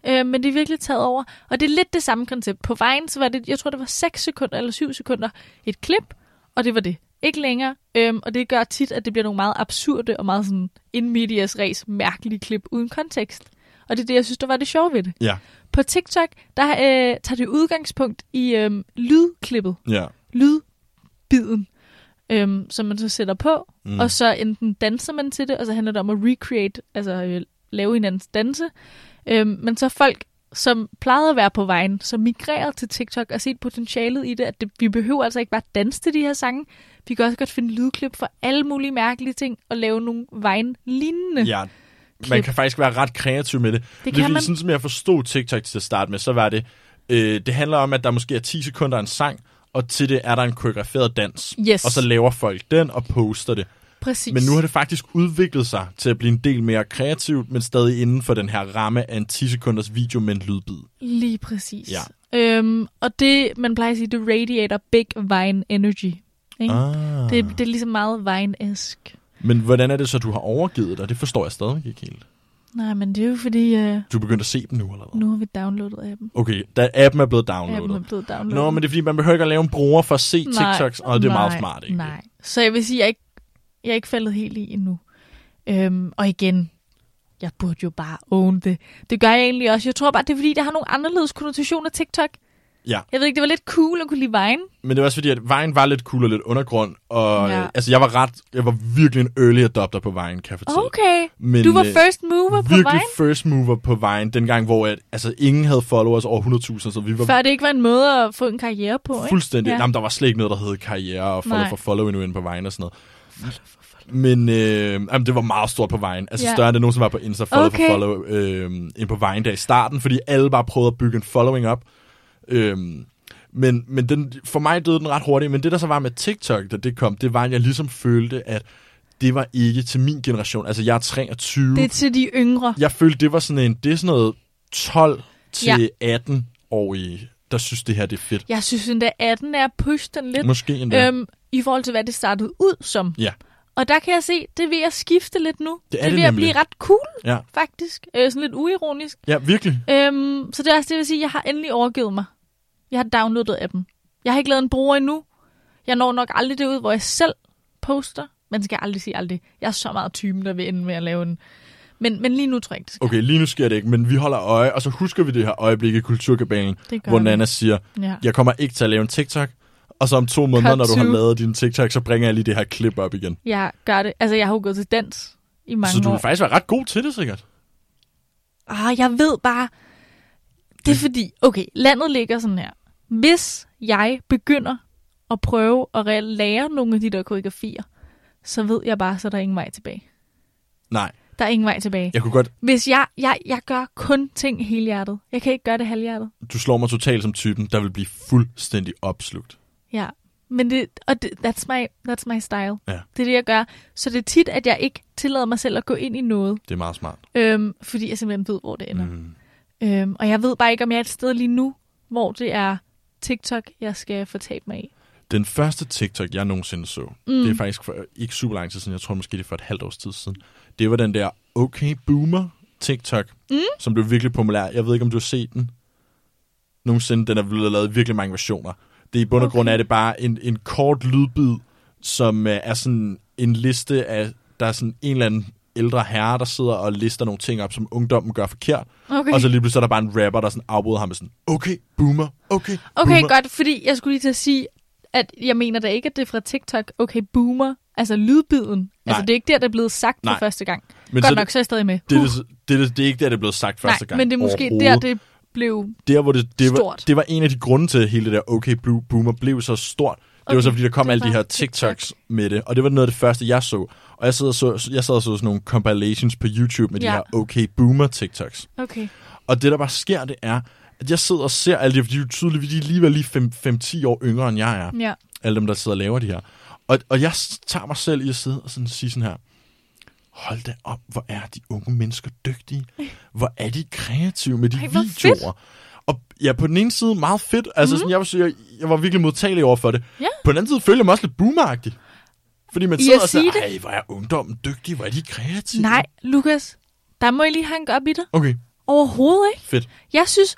Speaker 1: Øh, men det er virkelig taget over. Og det er lidt det samme koncept. På vejen, så var det, jeg tror, det var 6 sekunder eller 7 sekunder, et klip, og det var det. Ikke længere. Øhm, og det gør tit, at det bliver nogle meget absurde og meget sådan in medias res mærkelige klip uden kontekst. Og det er det, jeg synes, der var det sjove ved det.
Speaker 2: Ja.
Speaker 1: På TikTok, der øh, tager det udgangspunkt i øh, lydklippet
Speaker 2: ja.
Speaker 1: lydbiden, øhm, som man så sætter på,
Speaker 2: Mm.
Speaker 1: mm. og så enten danser man til det, og så handler det om at recreate, altså øh, lave hinandens danse. Øhm, men så folk, som plejede at være på vejen, som migrerede til TikTok og set potentialet i det, at det, vi behøver altså ikke bare danse til de her sange, vi kan også godt finde lydklip for alle mulige mærkelige ting, og lave nogle vejen-lignende.
Speaker 2: Ja, man kan faktisk være ret kreativ med det. Det,
Speaker 1: kan
Speaker 2: fordi,
Speaker 1: man.
Speaker 2: Sådan som jeg forstod TikTok til at starte med, så var det, øh, det handler om, at der måske er 10 sekunder af en sang, og til det er der en koreograferet dans.
Speaker 1: Yes.
Speaker 2: Og så laver folk den og poster det.
Speaker 1: Præcis.
Speaker 2: Men nu har det faktisk udviklet sig til at blive en del mere kreativt, men stadig inden for den her ramme af en 10 sekunders video med en lydbid.
Speaker 1: Lige præcis.
Speaker 2: Ja.
Speaker 1: Øhm, og det, man plejer at sige, det radiator big vine energy. Ikke?
Speaker 2: Ah.
Speaker 1: Det, det er ligesom meget vine-esk.
Speaker 2: Men hvordan er det så, du har overgivet dig? Det forstår jeg stadig ikke helt.
Speaker 1: Nej, men det er jo fordi, øh,
Speaker 2: Du er begyndt at se dem nu, eller hvad?
Speaker 1: nu har vi downloadet appen.
Speaker 2: Okay, da appen er blevet downloadet.
Speaker 1: Appen er blevet downloadet.
Speaker 2: Nå, men det er fordi, man behøver ikke at lave en bruger for at se
Speaker 1: Nej,
Speaker 2: TikToks, og det er
Speaker 1: nej,
Speaker 2: meget smart, egentlig.
Speaker 1: Nej, så jeg vil sige, jeg er ikke, jeg er ikke faldet helt i endnu. Øhm, og igen, jeg burde jo bare own det. Det gør jeg egentlig også. Jeg tror bare, det er fordi, det har nogle anderledes konnotationer TikTok.
Speaker 2: Ja.
Speaker 1: Jeg ved ikke, det var lidt cool at kunne lide Vine.
Speaker 2: Men det var også fordi, at vejen var lidt cool og lidt undergrund, og
Speaker 1: Ja.
Speaker 2: ja. altså, jeg var ret, jeg var virkelig en early adopter på vejen, kan jeg fortælle.
Speaker 1: Okay,
Speaker 2: Men,
Speaker 1: du var
Speaker 2: øh,
Speaker 1: first mover på
Speaker 2: Virkelig
Speaker 1: Vine,
Speaker 2: first mover på vejen, dengang, hvor at, altså, ingen havde followers over 100.000, så vi var
Speaker 1: før det ikke var en måde at få en karriere på. Ikke?
Speaker 2: fuldstændig... Ja.
Speaker 1: Ja.
Speaker 2: Jamen, der var slet ikke noget, der hed karriere og follow
Speaker 1: Nej.
Speaker 2: for follow endnu inde på vejen og sådan noget. Men øh, jamen, det var meget stort på vejen. Altså ja.
Speaker 1: Ja.
Speaker 2: større end det nogensinde var på Insta, follow okay.
Speaker 1: Okay.
Speaker 2: for follow, øh, end på vejen der i starten, fordi alle bare prøvede at bygge en following op. Øh, men men den, for mig døde den ret hurtigt, men det der så var med TikTok, da det kom, det var, at jeg ligesom følte, at det var ikke til min generation. Altså jeg er 23.
Speaker 1: Det er til de yngre.
Speaker 2: Jeg følte, det var sådan en, det er sådan noget 12 til ja. 18-årige, der synes, det her det er fedt.
Speaker 1: Jeg synes endda, 18 er at pushe den lidt. Øh,
Speaker 2: Måske endda.
Speaker 1: Øhm, I forhold til, hvad det startede ud som.
Speaker 2: Ja.
Speaker 1: Og der kan jeg se, det er ved at skifte lidt nu.
Speaker 2: Det er
Speaker 1: det er
Speaker 2: det
Speaker 1: ved at
Speaker 2: nemlig.
Speaker 1: blive ret cool,
Speaker 2: Ja.
Speaker 1: faktisk. Øh, sådan lidt uironisk.
Speaker 2: Ja, virkelig.
Speaker 1: Øhm, så det er også det, jeg vil sige, jeg har endelig overgivet mig. Jeg har downloadet appen. Jeg har ikke lavet en bruger endnu. Jeg når nok aldrig det ud, hvor jeg selv poster. Man skal aldrig sige aldrig. Jeg er så meget typen, der vil ende med at lave en. Men, men lige nu tror jeg ikke, det skal.
Speaker 2: Okay, lige nu sker det ikke, men vi holder øje, og så husker vi det her øjeblik i Kulturkabalen,
Speaker 1: Det gør
Speaker 2: hvor
Speaker 1: vi.
Speaker 2: Nana siger,
Speaker 1: Ja.
Speaker 2: jeg kommer ikke til at lave en TikTok, og så om to måneder,
Speaker 1: Cut
Speaker 2: når du
Speaker 1: to.
Speaker 2: har lavet din TikTok, så bringer jeg lige det her klip op igen.
Speaker 1: Jeg gør det. Altså, jeg har jo gået til dans i mange
Speaker 2: så du
Speaker 1: år.
Speaker 2: vil faktisk være ret god til det, sikkert.
Speaker 1: Ah, jeg ved bare... Det er fordi... Okay, landet ligger sådan her. Hvis jeg begynder at prøve at re- lære nogle af de der koreografier, så ved jeg bare, så er der ingen vej tilbage.
Speaker 2: Nej,
Speaker 1: Der er ingen vej tilbage.
Speaker 2: jeg kunne godt...
Speaker 1: Hvis jeg, jeg, jeg gør kun ting helhjertet. Jeg kan ikke gøre det halvhjertet.
Speaker 2: Du slår mig totalt som typen, der vil blive fuldstændig opslugt.
Speaker 1: Ja. Men det, og det, that's, my, that's my style.
Speaker 2: Ja.
Speaker 1: Det er det, jeg gør. Så det er tit, at jeg ikke tillader mig selv at gå ind i noget,
Speaker 2: Det er meget smart.
Speaker 1: øhm, fordi jeg simpelthen ved, hvor det ender.
Speaker 2: Mm.
Speaker 1: Øhm, og jeg ved bare ikke, om jeg er et sted lige nu, hvor det er TikTok, jeg skal fortabe mig i.
Speaker 2: Den første TikTok, jeg nogensinde så, mm. det er faktisk for, ikke super lang tid siden, jeg tror måske det er for et halvt års tid siden, det var den der Okay Boomer TikTok, mm. som blev virkelig populær. Jeg ved ikke, om du har set den nogensinde. Den er blevet lavet i virkelig mange versioner. Det er i bund
Speaker 1: Okay.
Speaker 2: og okay. grund er det bare en, en kort lydbid, som øh, er sådan en liste af, der er sådan en eller anden ældre herre, der sidder og lister nogle ting op, som ungdommen gør forkert.
Speaker 1: Okay,
Speaker 2: Okay. Og så lige pludselig så er der bare en rapper, der sådan afbryder ham med sådan, okay, boomer, okay,
Speaker 1: okay
Speaker 2: boomer.
Speaker 1: godt, fordi jeg skulle lige til at sige, at jeg mener da ikke, at det er fra TikTok. Okay, boomer. Altså lydbiden. Nej. Altså det er ikke der, det er blevet sagt Nej.
Speaker 2: Nej.
Speaker 1: for første gang. Men
Speaker 2: Men
Speaker 1: godt
Speaker 2: så
Speaker 1: nok, så er jeg stadig med.
Speaker 2: Det, er
Speaker 1: Huh.
Speaker 2: det, det, er det, det er ikke der, det er blevet sagt første
Speaker 1: Nej,
Speaker 2: gang.
Speaker 1: men det er måske der,
Speaker 2: overhovedet.
Speaker 1: det blev...
Speaker 2: der hvor det, det, var,
Speaker 1: Stort.
Speaker 2: det var en af de grunde til, at hele det der OK Blue Boomer blev så stort. Det okay, var
Speaker 1: Okay,
Speaker 2: så, fordi der kom
Speaker 1: det
Speaker 2: alle de
Speaker 1: var
Speaker 2: her
Speaker 1: TikTok.
Speaker 2: TikToks med det, og det var noget af det første, jeg så. Og jeg sad og så, jeg sad og så sådan nogle compilations på YouTube med
Speaker 1: Ja.
Speaker 2: de her OK Boomer TikToks.
Speaker 1: Okay.
Speaker 2: Og det, der bare sker, det er, at jeg sidder og ser alle de, fordi de er jo tydeligvis de er alligevel lige 5-10 år yngre, end jeg er.
Speaker 1: Ja.
Speaker 2: Alle dem, der sidder og laver de her. Og, og jeg s- tager mig selv i at sidde og sådan sige sådan her, hold da op, hvor er de unge mennesker dygtige. Hvor er de kreative med de
Speaker 1: Ej,
Speaker 2: Ej,
Speaker 1: hvor Mhm.
Speaker 2: videoer. Og ja, på den ene side meget fedt. Altså, mm. sådan, jeg, vil sige, jeg, jeg var virkelig modtagelig over for det.
Speaker 1: Ja.
Speaker 2: På den anden side følte jeg mig også lidt boomeragtig. Fordi man
Speaker 1: I
Speaker 2: sidder
Speaker 1: at
Speaker 2: og
Speaker 1: sige
Speaker 2: siger,
Speaker 1: det?
Speaker 2: Ej, hvor er ungdommen dygtig, hvor er de kreative.
Speaker 1: Nej, Lukas, der må jeg lige hanke op i dig.
Speaker 2: Okay,
Speaker 1: Overhovedet ikke.
Speaker 2: fedt.
Speaker 1: Jeg synes,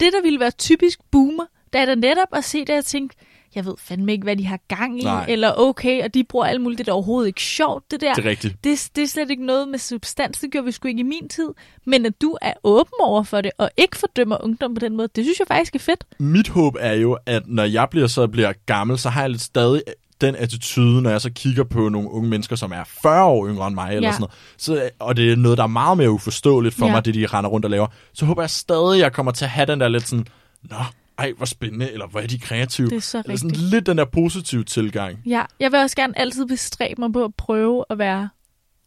Speaker 1: det der ville være typisk boomer, da er da netop at se det, jeg tænkte, jeg ved fandme ikke, hvad de har gang i, Nej.
Speaker 2: Nej.
Speaker 1: eller okay, og de bruger alt muligt, det er da overhovedet ikke sjovt, det der.
Speaker 2: Det er rigtigt.
Speaker 1: Det, det er slet ikke noget med substans, det gjorde vi sgu ikke i min tid, men at du er åben over for det, og ikke fordømmer ungdom på den måde, det synes jeg faktisk er fedt.
Speaker 2: mit håb er jo, at når jeg bliver så bliver gammel, så har jeg lidt stadig den attitude, når jeg så kigger på nogle unge mennesker, som er 40 år yngre end mig, eller
Speaker 1: Ja.
Speaker 2: sådan noget. Så, og det er noget, der er meget mere uforståeligt
Speaker 1: Ja.
Speaker 2: for ja. mig, det de render rundt og laver. Så håber jeg stadig, jeg kommer til at have den der lidt sådan, nå, ej, hvor spændende, eller hvor er de kreative.
Speaker 1: Det er så
Speaker 2: eller sådan
Speaker 1: rigtigt.
Speaker 2: lidt den der positive tilgang.
Speaker 1: Ja, jeg vil også gerne altid bestræbe mig på at prøve at være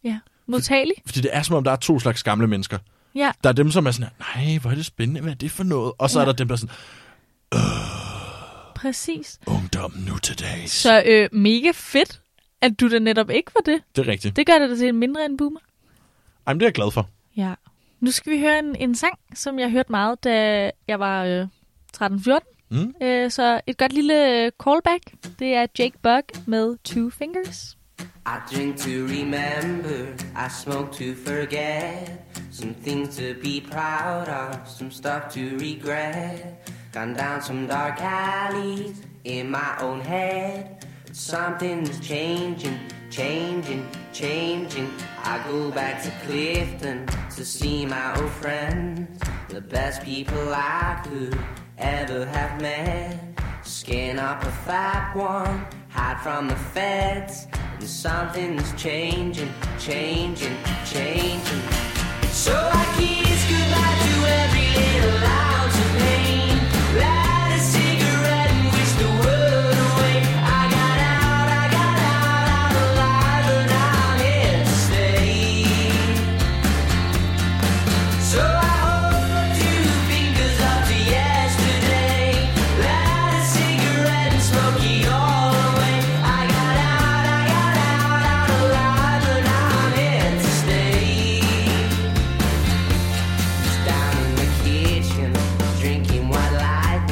Speaker 1: ja, modtagelig.
Speaker 2: Fordi det er som om, der er to slags gamle mennesker.
Speaker 1: Ja,
Speaker 2: Der er dem, som er sådan, her, nej, hvor er det spændende, hvad er det for noget? Og så
Speaker 1: Ja.
Speaker 2: er der dem, der er sådan,
Speaker 1: præcis.
Speaker 2: ungdom nu til dags.
Speaker 1: Så øh, mega fedt, at du da netop ikke var det.
Speaker 2: Det er rigtigt.
Speaker 1: Det gør det da til en mindre end boomer.
Speaker 2: Ej, men det er jeg glad for.
Speaker 1: Ja. Nu skal vi høre en, en sang, som jeg hørte meget, da jeg var øh, 13-14.
Speaker 2: Mm.
Speaker 1: Øh, så et godt lille øh, callback. Det er Jake Bug med Two Fingers.
Speaker 5: I drink to remember, I smoke to forget. Some things to be proud of, some stuff to regret. Gone down some dark alleys in my own head. Something's changing, changing, changing. I go back to Clifton to see my old friends, the best people I could ever have met. Skin up a fat one, hide from the feds. And something's changing, changing, changing. So I kiss goodbye to every little ounce of pain. Light a cigarette and wish the world away. I got out, I got out, I'm alive and I'm here to stay. So I hold two fingers up to yesterday. Light a cigarette and smoke it all away. I got out, I got out, out alive, and I'm here to stay down in the kitchen, drinking white lightning.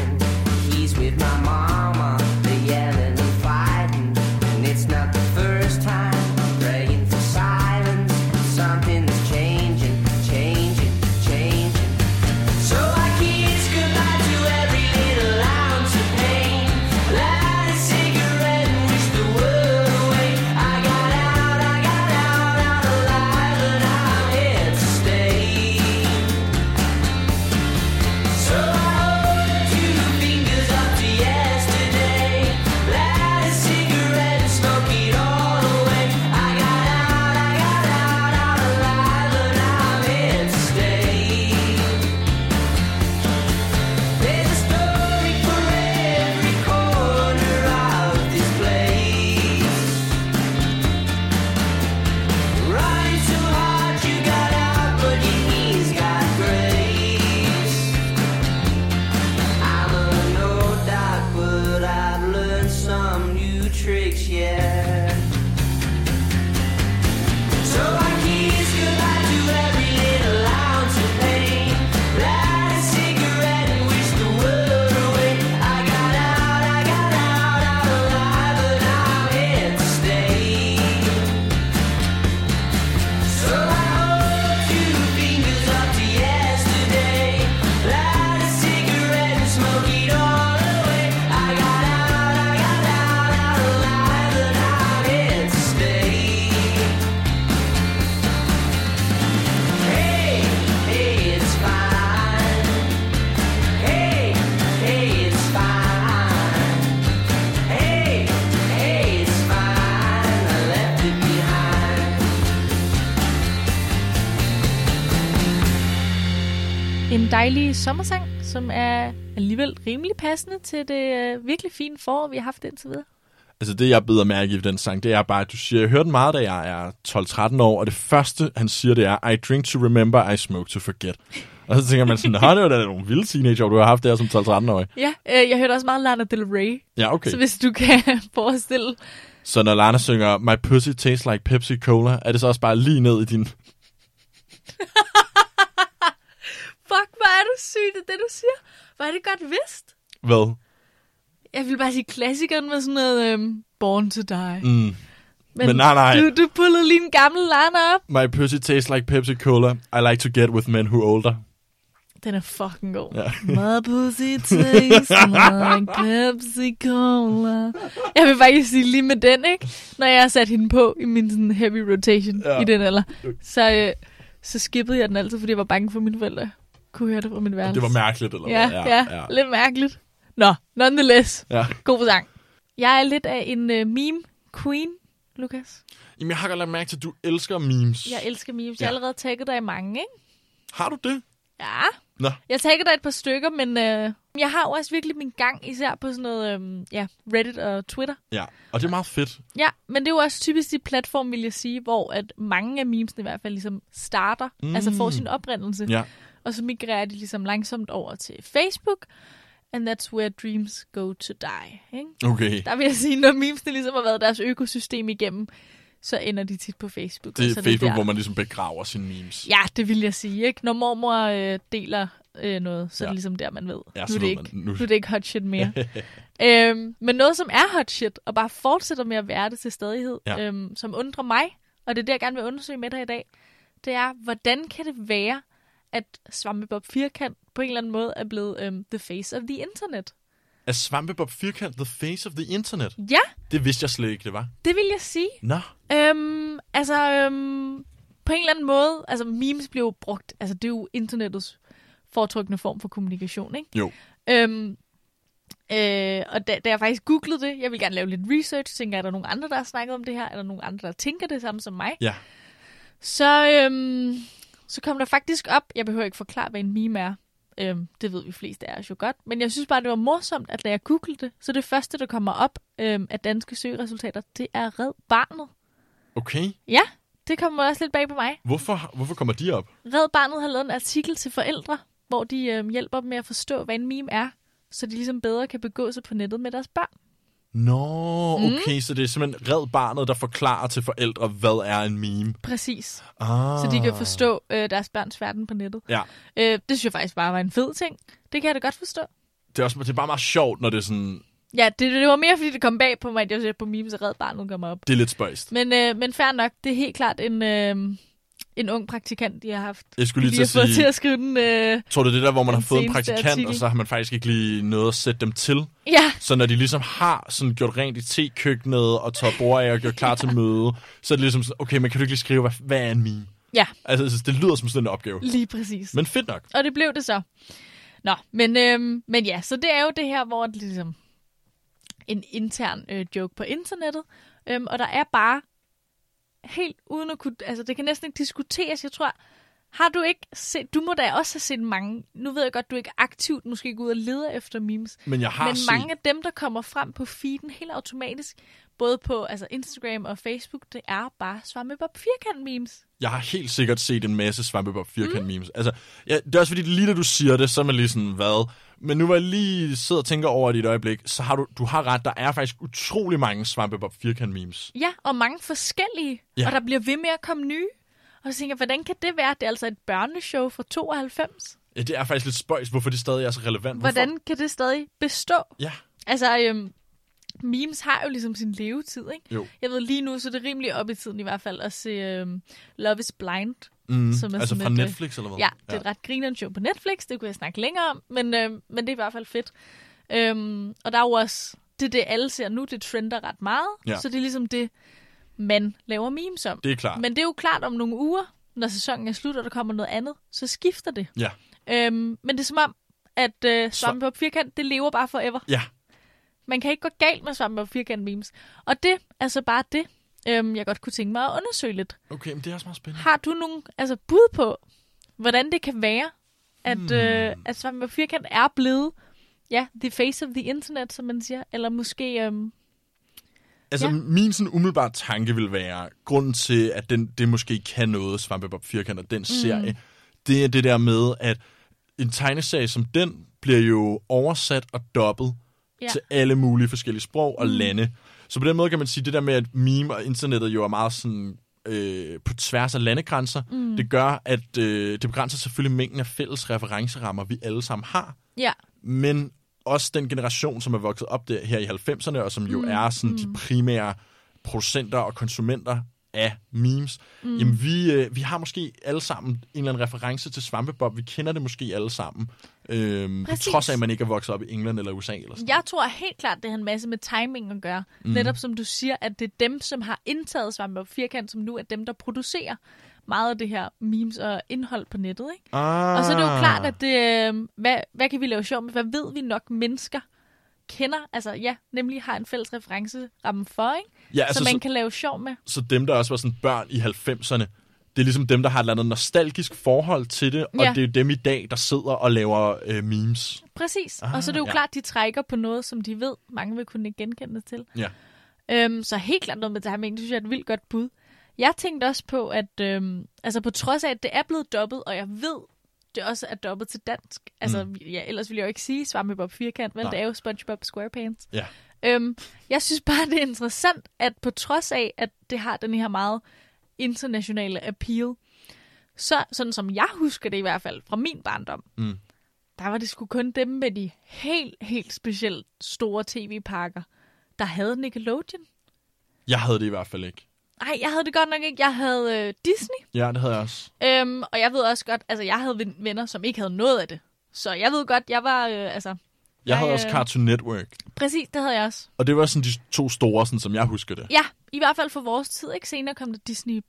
Speaker 1: den dejlige sommersang, som er alligevel rimelig passende til det øh, virkelig fine forår, vi har haft indtil videre.
Speaker 2: Altså det, jeg beder mærke i ved den sang, det er bare, at du siger, jeg hørte den meget, da jeg er 12-13 år, og det første, han siger, det er, I drink to remember, I smoke to forget. Og så tænker man sådan, har det var da nogle vilde teenager, du har haft der som 12-13-årig.
Speaker 1: Ja, øh, jeg hørte også meget Lana Del Rey,
Speaker 2: Ja, okay.
Speaker 1: okay. så hvis du kan forestille
Speaker 2: Så når Lana synger, My pussy tastes like Pepsi Cola, er det så også bare lige ned i din...
Speaker 1: Fuck, hvor er du syg, det er det, du siger. Hvor er det godt vidst.
Speaker 2: Hvad?
Speaker 1: Jeg vil bare sige klassikeren med sådan noget øhm, Born to Die.
Speaker 2: Mm. men nej, nej.
Speaker 1: Du, du pullede lige en gammel Lana op.
Speaker 2: My pussy tastes like Pepsi Cola. I like to get with men who older.
Speaker 1: Den er fucking god.
Speaker 2: Ja.
Speaker 1: My pussy tastes like Pepsi Cola. Jeg vil faktisk sige lige med den, ikke? Når jeg satte hende på i min sådan heavy rotation
Speaker 2: Ja.
Speaker 1: ja. i den alder, så, øh, så skippede jeg den altid, fordi jeg var bange for at mine forældre. Kunne høre det fra mit værelse.
Speaker 2: Det var mærkeligt, eller
Speaker 1: Ja,
Speaker 2: hvad?
Speaker 1: ja, ja, lidt mærkeligt. Nå, nonetheless.
Speaker 2: ja.
Speaker 1: God sang. Jeg er lidt af en uh, meme queen, Lukas.
Speaker 2: Jamen, jeg har godt lagt mærke til, at du elsker memes.
Speaker 1: Jeg elsker memes.
Speaker 2: Ja.
Speaker 1: Ja. Jeg har allerede tagget dig i mange, ikke?
Speaker 2: Har du det?
Speaker 1: Ja.
Speaker 2: Nå.
Speaker 1: Jeg taggede dig et par stykker, men uh, jeg har jo også virkelig min gang, især på sådan noget um, ja, Reddit og Twitter.
Speaker 2: Ja, og det er meget fedt.
Speaker 1: Ja, men det er jo også typisk de platform, vil jeg sige, hvor at mange af memesene i hvert fald ligesom starter,
Speaker 2: Mm.
Speaker 1: mm. altså får sin oprindelse.
Speaker 2: Ja.
Speaker 1: Og så migrerer de ligesom langsomt over til Facebook, and that's where dreams go to die, ikke?
Speaker 2: Okay.
Speaker 1: Der vil jeg sige, når memesene ligesom har været deres økosystem igennem, så ender de tit på Facebook.
Speaker 2: Det
Speaker 1: og så
Speaker 2: er Facebook,
Speaker 1: Altså, der.
Speaker 2: hvor man ligesom begraver sine memes.
Speaker 1: Ja, det vil jeg sige, ikke? Når mormor øh, deler øh, noget, så ja. er
Speaker 2: Ja.
Speaker 1: det ligesom der, man ved.
Speaker 2: Ja,
Speaker 1: nu,
Speaker 2: så
Speaker 1: er det
Speaker 2: ved
Speaker 1: ikke,
Speaker 2: man. Nu-
Speaker 1: nu er det ikke hot shit mere. øhm, men noget, som er hot shit, og bare fortsætter med at være det til stadighed,
Speaker 2: Ja.
Speaker 1: ja. øhm, som undrer mig, og det er det, jeg gerne vil undersøge med dig i dag, det er, hvordan kan det være, at Svampebob Firkant på en eller anden måde er blevet øhm, the face of the internet?
Speaker 2: Er Svampebob Firkant the face of the internet?
Speaker 1: Ja,
Speaker 2: Det vidste jeg slet ikke, det var.
Speaker 1: det vil jeg sige.
Speaker 2: Nå.
Speaker 1: Øhm, altså, øhm, på en eller anden måde, altså memes bliver jo brugt, altså det er jo internettets foretrukne form for kommunikation, ikke?
Speaker 2: Jo.
Speaker 1: Øhm, øh, og da, da jeg faktisk googlede det, jeg vil gerne lave lidt research, tænker, er der nogen andre, der har snakket om det her? Er der nogen andre, der tænker det samme som mig?
Speaker 2: Ja.
Speaker 1: Så, øhm, så kom der faktisk op, jeg behøver ikke forklare, hvad en meme er. Øhm, det ved vi fleste af os jo godt. Men jeg synes bare, det var morsomt, at da jeg googlede det, så det første, der kommer op øhm, af danske søgeresultater, det er Red Barnet.
Speaker 2: Okay.
Speaker 1: Ja, det kommer også lidt bag på mig.
Speaker 2: Hvorfor, hvorfor kommer de op?
Speaker 1: Red Barnet har lavet en artikel til forældre, hvor de øh, hjælper dem med at forstå, hvad en meme er, så de ligesom bedre kan begå sig på nettet med deres børn.
Speaker 2: Nå,
Speaker 1: Mm.
Speaker 2: okay, så det er simpelthen Red Barnet, der forklarer til forældre, hvad er en meme.
Speaker 1: Præcis.
Speaker 2: Ah.
Speaker 1: Så de kan forstå øh, deres børns verden på nettet.
Speaker 2: Ja,
Speaker 1: Øh, det synes jeg faktisk bare var en fed ting. Det kan jeg da godt forstå.
Speaker 2: det er, også, det er bare meget sjovt, når det er, sådan,
Speaker 1: Ja, det, det var mere, fordi det kom bag på mig, at jeg så på memes, at Red Barnet kom op.
Speaker 2: det er lidt spøjst.
Speaker 1: Men, øh, men fair nok, det er helt klart en, øh, en ung praktikant, de har haft.
Speaker 2: Jeg skulle lige
Speaker 1: de
Speaker 2: til
Speaker 1: har
Speaker 2: at
Speaker 1: fået
Speaker 2: sige,
Speaker 1: til at skrive den. Øh,
Speaker 2: tror du det er der, hvor man
Speaker 1: Den
Speaker 2: har fået en
Speaker 1: seneste
Speaker 2: praktikant,
Speaker 1: artikel.
Speaker 2: og så har man faktisk ikke lige noget at sætte dem til?
Speaker 1: ja,
Speaker 2: Så når de ligesom har sådan gjort rent i tekøkkenet og taget bord af og gjort klar til møde, så er det ligesom sådan, okay, men kan du ikke lige skrive, hvad, hvad er en meme?
Speaker 1: ja,
Speaker 2: Altså, altså, det lyder som sådan en opgave.
Speaker 1: lige præcis.
Speaker 2: Men fedt nok.
Speaker 1: Og det blev det så. Nå, men, øhm, men ja, så det er jo det her, hvor det ligesom en intern øh, joke på internettet, øhm, og der er bare helt uden at kunne, altså det kan næsten ikke diskuteres, jeg tror, har du ikke set, du må da også have set mange, nu ved jeg godt, du ikke aktivt måske går ud og leder efter memes,
Speaker 2: Men jeg har
Speaker 1: men
Speaker 2: set...
Speaker 1: mange af dem, der kommer frem på feeden helt automatisk, både på altså Instagram og Facebook, det er bare svampebob firkant memes.
Speaker 2: Jeg har helt sikkert set en masse Svampebob firkant mm. memes. Altså, ja, det er også fordi, lige da du siger det, så er man lige sådan, hvad? Men nu hvor jeg lige sidder og tænker over det i et øjeblik, så har du, du har ret, der er faktisk utrolig mange Svampebob firkant memes.
Speaker 1: Ja, og mange forskellige.
Speaker 2: Ja.
Speaker 1: Ja. Og der bliver ved med at komme nye. Og så tænker jeg, hvordan kan det være? Det er altså et børneshow fra 92.
Speaker 2: Ja, det er faktisk lidt spøjs, hvorfor det stadig er så relevant. Hvorfor?
Speaker 1: Hvordan kan det stadig bestå?
Speaker 2: Ja,
Speaker 1: Altså, øhm, memes har jo ligesom sin levetid, ikke?
Speaker 2: jo.
Speaker 1: Jeg ved lige nu, så er det rimelig op i tiden i hvert fald at se øhm, Love is Blind.
Speaker 2: Mm.
Speaker 1: Som er
Speaker 2: altså
Speaker 1: sådan
Speaker 2: fra
Speaker 1: et, øh,
Speaker 2: Netflix eller hvad?
Speaker 1: Ja, det er et ret grinerende show på Netflix. Det kunne jeg snakke længere om, men, øhm, men det er i hvert fald fedt. Øhm, og der er jo også, det er det, alle ser nu, det trender ret meget.
Speaker 2: Ja.
Speaker 1: Så det er ligesom det, man laver memes om.
Speaker 2: det er klart.
Speaker 1: Men det er jo klart om nogle uger, når sæsonen er slut, og der kommer noget andet, så skifter det.
Speaker 2: Ja.
Speaker 1: Øhm, men det er som om, at øh, Svampe på firkant, det lever bare forever.
Speaker 2: Ja,
Speaker 1: Man kan ikke gå galt med Svampe på firkant memes. Og det er så bare det, øhm, jeg godt kunne tænke mig at undersøge lidt. Hmm.
Speaker 2: okay, men det er også meget spændende.
Speaker 1: Har du nogen altså, bud på, hvordan det kan være, at, hmm. øh, at Svampe og Firkant er blevet ja, the face of the internet, som man siger. Eller måske... Øhm,
Speaker 2: Altså,
Speaker 1: Ja.
Speaker 2: ja. min sådan umiddelbare tanke vil være, grunden til, at den, det måske kan noget, Svampebob Firkant og den mm. serie, det er det der med, at en tegneserie som den bliver jo oversat og dobbet
Speaker 1: Ja.
Speaker 2: ja. til alle mulige forskellige sprog og mm. lande. Så på den måde kan man sige, det der med, at meme og internettet jo er meget sådan øh, på tværs af landegrænser, mm. det gør, at øh, det begrænser selvfølgelig mængden af fælles referencerammer, vi alle sammen har
Speaker 1: ja,
Speaker 2: men også den generation, som er vokset op der, her i 90'erne, og som jo mm, er sådan mm. de primære producenter og konsumenter af memes, mm. jamen vi, øh, vi har måske alle sammen en eller anden reference til Svampebob. Vi kender det måske alle sammen. Øhm, på
Speaker 1: Præcis.
Speaker 2: trods af, at man ikke er vokset op i England eller USA. Eller sådan.
Speaker 1: Jeg tror helt klart, det har en masse med timing at gøre. Mm. Netop som du siger, at det er dem, som har indtaget Svampe og Firkant, som nu er dem, der producerer meget af det her memes og indhold på nettet. Ikke?
Speaker 2: Ah.
Speaker 1: Og så er det jo klart, at det, øh, hvad, hvad kan vi lave sjov med? Hvad ved vi nok mennesker kender? Altså ja, nemlig har en fælles referenceramme for, ikke?
Speaker 2: ja,
Speaker 1: Altså,
Speaker 2: altså,
Speaker 1: som man
Speaker 2: så,
Speaker 1: kan lave sjov med.
Speaker 2: så dem, der også var sådan børn i 90'erne, det er ligesom dem, der har et eller andet nostalgisk forhold til det, og
Speaker 1: Ja.
Speaker 2: det er jo dem i dag, der sidder og laver øh, memes.
Speaker 1: Præcis. Ah, og så er det jo ja.
Speaker 2: ja.
Speaker 1: klart, de trækker på noget, som de ved, mange vil kunne genkende til.
Speaker 2: Ja.
Speaker 1: Øhm, så helt klart noget med timing, det synes jeg er et vildt godt bud. Jeg tænkte også på, at øhm, altså på trods af, at det er blevet dobbet, og jeg ved, det også er dobbet til dansk. Altså, mm. ja, ellers ville jeg jo ikke sige Svampebob Firkant, vel?
Speaker 2: Nej.
Speaker 1: Det er jo SpongeBob SquarePants.
Speaker 2: Ja.
Speaker 1: Øhm, jeg synes bare, det er interessant, at på trods af, at det har den her meget internationale appeal, så sådan som jeg husker det i hvert fald fra min barndom,
Speaker 2: Mm.
Speaker 1: der var det sgu kun dem med de helt, helt specielt store tv-pakker, der havde Nickelodeon.
Speaker 2: Jeg havde det i hvert fald ikke.
Speaker 1: Nej, jeg havde det godt nok ikke. Jeg havde øh, Disney,
Speaker 2: Ja, det havde jeg også.
Speaker 1: øhm, og jeg ved også godt, altså jeg havde ven- venner, som ikke havde noget af det. Så jeg ved godt, jeg var, øh, altså,
Speaker 2: Jeg havde
Speaker 1: Jeg,
Speaker 2: også
Speaker 1: øh,
Speaker 2: Cartoon Network.
Speaker 1: præcis, det havde jeg også.
Speaker 2: Og det var sådan de to store, sådan, som jeg husker det.
Speaker 1: Ja, i hvert fald for vores tid, ikke? Senere kom der Disney XD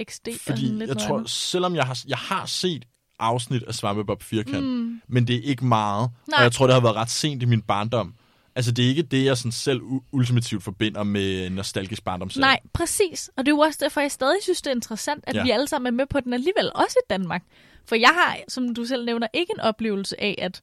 Speaker 1: og sådan
Speaker 2: Fordi
Speaker 1: lidt
Speaker 2: jeg
Speaker 1: noget
Speaker 2: tror,
Speaker 1: andet.
Speaker 2: selvom jeg har, jeg har set afsnit af Svampebob Firkant, mm. men det er ikke meget.
Speaker 1: Nej.
Speaker 2: Og jeg tror, det har været ret sent i min barndom. Altså, det er ikke det, jeg sådan selv u- ultimativt forbinder med nostalgisk barndomsserie.
Speaker 1: Nej, præcis. Og det er jo også derfor, jeg stadig synes, det er interessant, at ja.
Speaker 2: Ja.
Speaker 1: vi alle sammen er med på den alligevel, også i Danmark. For jeg har, som du selv nævner, ikke en oplevelse af, at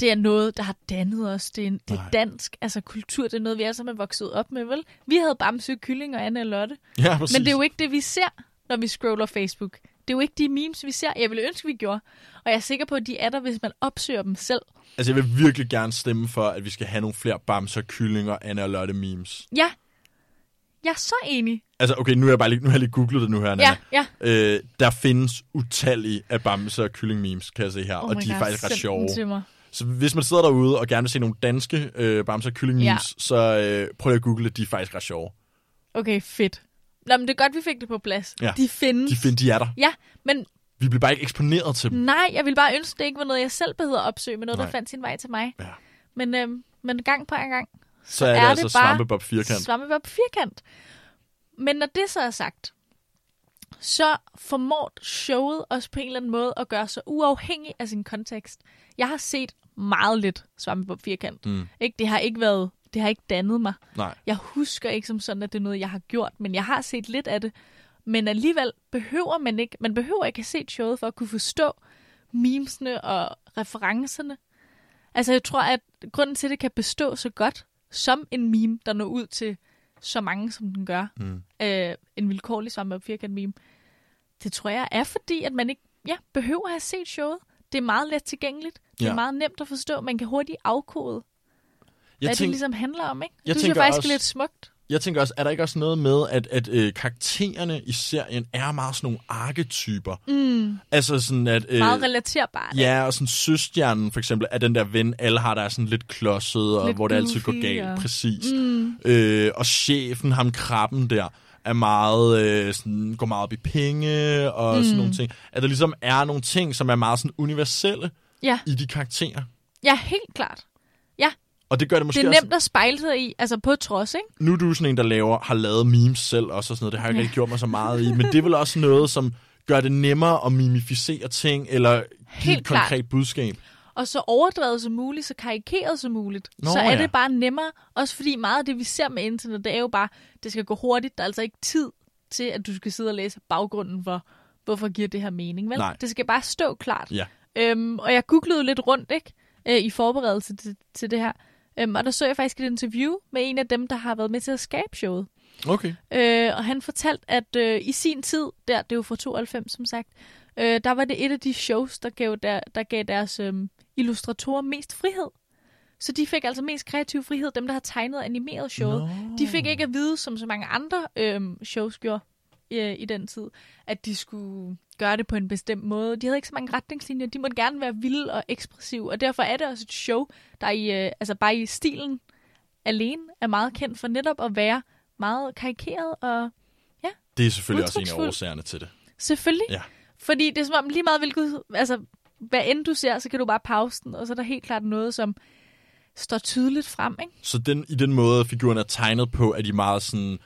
Speaker 1: det er noget, der har dannet os. Det er, en, det er
Speaker 2: Nej.
Speaker 1: dansk, altså kultur, det er noget, vi alle sammen er vokset op med, vel? Vi havde Bamse, Kylling og Anne og Lotte.
Speaker 2: Ja, præcis.
Speaker 1: Men det er jo ikke det, vi ser, når vi scroller Facebook. Det er jo ikke de memes, vi ser. Jeg ville ønske, vi gjorde. Og jeg er sikker på, at de er der, hvis man opsøger dem selv.
Speaker 2: Altså, jeg vil virkelig gerne stemme for, at vi skal have nogle flere Bamser, Kyllinger, Anna og Lotte memes.
Speaker 1: Ja, jeg er så enig.
Speaker 2: Altså, okay, nu har jeg bare lige, nu har jeg lige googlet det nu her, Nana.
Speaker 1: Ja, ja.
Speaker 2: Øh, der findes utallige af Bamser og Kylling memes, kan jeg se her. og
Speaker 1: Oh my
Speaker 2: de er
Speaker 1: God,
Speaker 2: faktisk ret
Speaker 1: send
Speaker 2: sjove.
Speaker 1: den til mig.
Speaker 2: Så hvis man sidder derude og gerne vil se nogle danske øh, Bamser Kylling memes,
Speaker 1: Ja.
Speaker 2: ja. så øh, prøv lige at google det. De er faktisk ret sjove.
Speaker 1: Okay, fedt. Nå, men det er godt, vi fik det på plads.
Speaker 2: Ja.
Speaker 1: De findes.
Speaker 2: De, find, de er der.
Speaker 1: Ja, men
Speaker 2: Vi bliver bare ikke eksponeret til dem.
Speaker 1: nej, jeg ville bare ønske, det ikke var noget, jeg selv behøvede at opsøge, men noget, nej. der
Speaker 2: Nej.
Speaker 1: fandt sin vej til mig.
Speaker 2: Ja.
Speaker 1: Men, øhm, men gang på gang,
Speaker 2: Så er, det
Speaker 1: er
Speaker 2: altså
Speaker 1: det bare
Speaker 2: Svampebob Firkant.
Speaker 1: Svampebob firkant. Men når det så er sagt, så formår showet også på en eller anden måde at gøre sig uafhængig af sin kontekst. Jeg har set meget lidt Svampebob firkant. Mm. Ikke? Det har ikke været, det har ikke dannet mig.
Speaker 2: Nej.
Speaker 1: Jeg husker ikke som sådan, at det er noget, jeg har gjort, men jeg har set lidt af det. Men alligevel behøver man ikke, man behøver ikke at se showet for at kunne forstå memesene og referencerne. Altså jeg tror, at grunden til, at det kan bestå så godt som en meme, der når ud til så mange, som den gør, mm. øh, en vilkårlig svampe firkant meme, det tror jeg er fordi, at man ikke ja, behøver at have set showet. Det er meget let tilgængeligt. Det er
Speaker 2: Ja.
Speaker 1: meget nemt at forstå. Man kan hurtigt afkode,
Speaker 2: Jeg,
Speaker 1: hvad
Speaker 2: tænk,
Speaker 1: det ligesom handler om, ikke?
Speaker 2: Jeg
Speaker 1: det synes jeg
Speaker 2: tænker
Speaker 1: faktisk
Speaker 2: også-
Speaker 1: er lidt smukt.
Speaker 2: jeg tænker også, er der ikke også noget med, at, at øh, karaktererne i serien er meget sådan nogle arketyper? Mm. Altså sådan, at... Øh,
Speaker 1: meget relaterbart.
Speaker 2: Ja, og sådan søstjernen for eksempel er den der ven, alle har, der er sådan lidt klodset, og
Speaker 1: Lidt
Speaker 2: lidt hvor det altid går
Speaker 1: goofy,
Speaker 2: galt,
Speaker 1: og-
Speaker 2: ja. præcis. Mm. Øh, og chefen, ham krabben der, er meget, øh, sådan, går meget op i penge og mm. sådan nogle ting. At der ligesom er nogle ting, som er meget sådan universelle
Speaker 1: Ja,
Speaker 2: i de karakterer.
Speaker 1: ja helt klart. Ja,
Speaker 2: Og det gør det måske
Speaker 1: det er
Speaker 2: også,
Speaker 1: nemt at spejle sig i, altså på trods, ikke?
Speaker 2: nu er du sådan en, der laver, har lavet memes selv også, og sådan noget. Det har jeg ikke rigtig gjort mig så meget i, men det er vel også noget, som gør det nemmere at mimificere ting, eller give
Speaker 1: Helt
Speaker 2: et
Speaker 1: klart.
Speaker 2: konkret budskab.
Speaker 1: Og så overdrevet som muligt, så karikeret som muligt.
Speaker 2: Nå,
Speaker 1: så er
Speaker 2: ja.
Speaker 1: det bare nemmere, også fordi meget af det, vi ser med internet, det er jo bare, det skal gå hurtigt. Der er altså ikke tid til, at du skal sidde og læse baggrunden for, hvorfor giver det her mening, vel?
Speaker 2: Nej.
Speaker 1: Det skal bare stå klart.
Speaker 2: Ja.
Speaker 1: Øhm, og jeg googlede lidt rundt ikke øh, i forberedelse til, til det her. Øhm, og der så jeg faktisk et interview med en af dem, der har været med til at skabe showet.
Speaker 2: Okay.
Speaker 1: Øh, og han fortalte, at øh, i sin tid, der det er jo fra 92 som sagt, øh, der var det et af de shows, der gav, der, der gav deres øh, illustratorer mest frihed. Så de fik altså mest kreativ frihed, dem der har tegnet og animeret showet.
Speaker 2: Nå.
Speaker 1: De fik ikke at vide, som så mange andre øhm, shows gjorde øh, i den tid, at de skulle gøre det på en bestemt måde. De havde ikke så mange retningslinjer. De måtte gerne være vilde og ekspressive, og derfor er det også et show, der i, øh, altså bare i stilen alene er meget kendt for netop at være meget karikeret og
Speaker 2: Det er selvfølgelig også en af
Speaker 1: Udtryksfuld.
Speaker 2: årsagerne til det.
Speaker 1: selvfølgelig.
Speaker 2: Ja.
Speaker 1: Fordi det er som om lige meget hvilket, altså hvad end du ser, så kan du bare pause den, og så er der helt klart noget, som står tydeligt frem, ikke?
Speaker 2: Så den, i den måde, figuren er tegnet på, er de meget sådan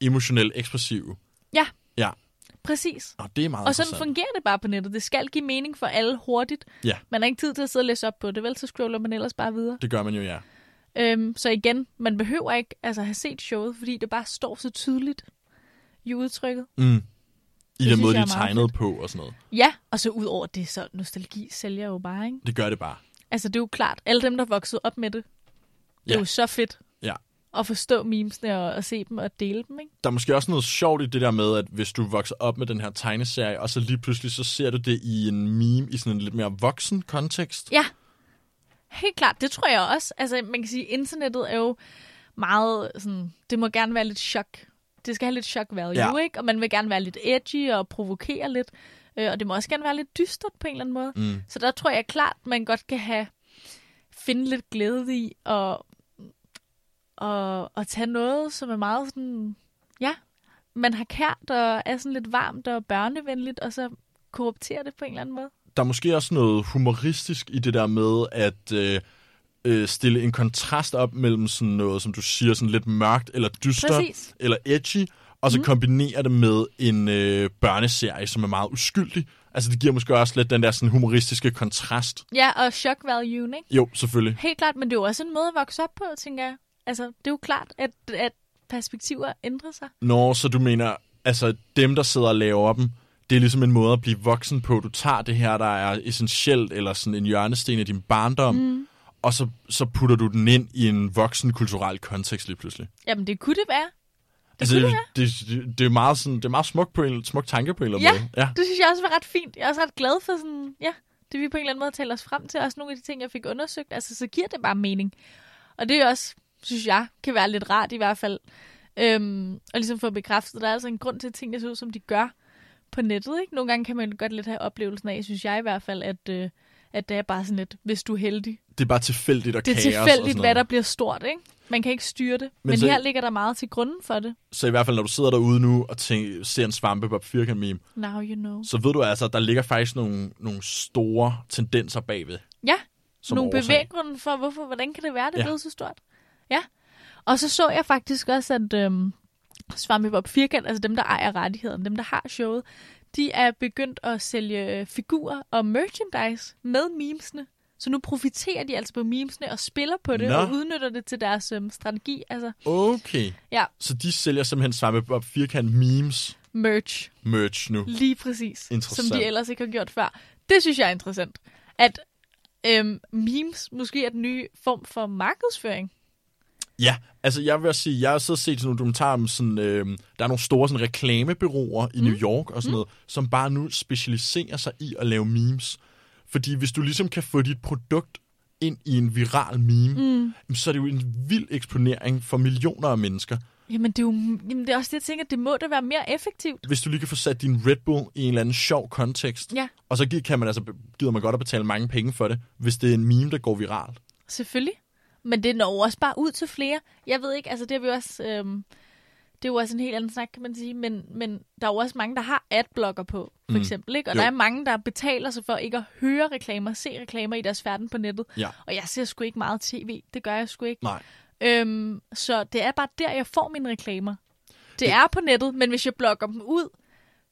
Speaker 2: emotionelt ekspressive.
Speaker 1: Ja,
Speaker 2: Ja,
Speaker 1: præcis.
Speaker 2: og det er meget
Speaker 1: Og sådan
Speaker 2: interessant.
Speaker 1: fungerer det bare på nettet. Det skal give mening for alle hurtigt.
Speaker 2: Ja.
Speaker 1: Man har ikke tid til at sidde og læse op på det, vel? Så scroller man ellers bare videre.
Speaker 2: Det gør man jo, ja.
Speaker 1: Øhm, så igen, man behøver ikke altså, have set showet, fordi det bare står så tydeligt i udtrykket.
Speaker 2: Mm. I
Speaker 1: synes
Speaker 2: den måde, de
Speaker 1: jeg
Speaker 2: er
Speaker 1: er meget
Speaker 2: tegnet på og sådan noget.
Speaker 1: Ja, og så ud over det, så nostalgi sælger jo bare, ikke?
Speaker 2: Det gør det bare.
Speaker 1: Altså, det er jo klart, alle dem, der voksede op med det, det
Speaker 2: Ja.
Speaker 1: er jo så fedt
Speaker 2: Ja.
Speaker 1: at forstå memesene og, og se dem og dele dem, ikke?
Speaker 2: Der er måske også noget sjovt i det der med, at hvis du vokser op med den her tegneserie, og så lige pludselig så ser du det i en meme, i sådan en lidt mere voksen kontekst.
Speaker 1: Ja, helt klart. Det tror jeg også. Altså, man kan sige, internettet er jo meget sådan, det må gerne være lidt chok. Det skal have lidt chok value,
Speaker 2: Ja.
Speaker 1: ja. ikke? Og man vil gerne være lidt edgy og provokere lidt. Øh, og det må også gerne være lidt dystert på en eller anden måde.
Speaker 2: Mm.
Speaker 1: Så der tror jeg klart, man godt kan have finde lidt glæde i og, og, og tage noget, som er meget sådan, ja, man har kært og er sådan lidt varmt og børnevenligt, og så korruptere det på en eller anden måde.
Speaker 2: Der er måske også noget humoristisk i det der med, at øh, øh, stille en kontrast op mellem sådan noget, som du siger, sådan lidt mørkt eller dystert
Speaker 1: Præcis.
Speaker 2: eller edgy, og så mm. kombinere det med en øh, børneserie, som er meget uskyldig. Altså det giver måske også lidt den der sådan humoristiske kontrast.
Speaker 1: Ja, og shock value, ikke?
Speaker 2: Jo, selvfølgelig.
Speaker 1: Helt klart, men det er jo også en måde at vokse op på, tænker jeg. Altså, det er jo klart, at, at perspektiver ændrer sig.
Speaker 2: Nå, så du mener, altså dem, der sidder og laver dem, det er ligesom en måde at blive voksen på. Du tager det her, der er essentielt, eller sådan en hjørnesten af din barndom, mm. og så, så putter du den ind i en voksen kulturel kontekst lige pludselig.
Speaker 1: Jamen, det kunne det være.
Speaker 2: Det altså,
Speaker 1: kunne
Speaker 2: det, det, det, er meget sådan, det er meget smuk, på en, smuk tanke på en eller
Speaker 1: Ja,
Speaker 2: anden måde. Ja,
Speaker 1: Det synes jeg også var ret fint. Jeg er også ret glad for sådan, ja, det vi på en eller anden måde taler os frem til. Også nogle af de ting, jeg fik undersøgt. Altså, så giver det bare mening. Og det er jo også, synes jeg, kan være lidt rart i hvert fald. Øhm, og ligesom få bekræftet, der er altså en grund til, at tingene ser ud, som de gør på nettet. Ikke? Nogle gange kan man godt lidt have oplevelsen af, synes jeg i hvert fald, at, øh, at det er bare sådan lidt, hvis du er heldig,
Speaker 2: det er bare tilfældigt og
Speaker 1: Det er
Speaker 2: kaos og sådan
Speaker 1: tilfældigt,
Speaker 2: noget.
Speaker 1: hvad der bliver stort, ikke? Man kan ikke styre det. Men, men
Speaker 2: så-
Speaker 1: her ligger der meget til grunden for det.
Speaker 2: Så i hvert fald, når du sidder derude nu og tænker, ser en svampe på firkant meme,
Speaker 1: Now you know.
Speaker 2: så ved du altså, at der ligger faktisk nogle, nogle store tendenser bagved.
Speaker 1: Ja,
Speaker 2: Som
Speaker 1: nogle
Speaker 2: årsag.
Speaker 1: bevæggrunde for, hvorfor, hvordan kan det være, det
Speaker 2: Ja.
Speaker 1: ja. blev så stort? Ja. Og så så jeg faktisk også, at øhm, Svampebob Firkant, altså dem, der ejer rettigheden, dem, der har showet, de er begyndt at sælge øh, figurer og merchandise med memesene. Så nu profiterer de altså på memesene og spiller på det
Speaker 2: Nå.
Speaker 1: og udnytter det til deres øhm, strategi, altså
Speaker 2: Okay.
Speaker 1: Ja.
Speaker 2: Så de sælger simpelthen Svampebob Firkant memes
Speaker 1: merch.
Speaker 2: merch nu.
Speaker 1: Lige præcis.
Speaker 2: Interessant.
Speaker 1: Som de ellers ikke har gjort før. Det synes jeg er interessant. At øhm, memes måske er den nye form for markedsføring.
Speaker 2: Ja, altså jeg vil også sige, jeg har siddet og set sådan nogle dokumentarer om sådan, øh, der er nogle store sådan, reklamebyråer i mm. New York og sådan mm. noget, som bare nu specialiserer sig i at lave memes. Fordi hvis du ligesom kan få dit produkt ind i en viral meme, mm. jamen, så er det jo en vild eksponering for millioner af mennesker.
Speaker 1: Jamen det er jo jamen, det er også det, jeg tænker, det må da være mere effektivt.
Speaker 2: Hvis du lige kan få sat din Red Bull i en eller anden sjov kontekst,
Speaker 1: Ja.
Speaker 2: og så gi- kan man altså, gider man godt at betale mange penge for det, hvis det er en meme, der går viralt.
Speaker 1: Selvfølgelig. Men det når jo også bare ud til flere. Jeg ved ikke, altså det er vi også... Øhm, det er jo også en helt anden snak, kan man sige. Men, men der er jo også mange, der har adblocker på, for
Speaker 2: Mm.
Speaker 1: mm. eksempel. Ikke? Og
Speaker 2: Jo.
Speaker 1: der er mange, der betaler sig for ikke at høre reklamer, se reklamer i deres færden på nettet.
Speaker 2: Ja.
Speaker 1: Og jeg ser sgu ikke meget tv. Det gør jeg sgu ikke.
Speaker 2: Nej.
Speaker 1: Øhm, så det er bare der, jeg får mine reklamer. Det, det er på nettet, men hvis jeg blokker dem ud,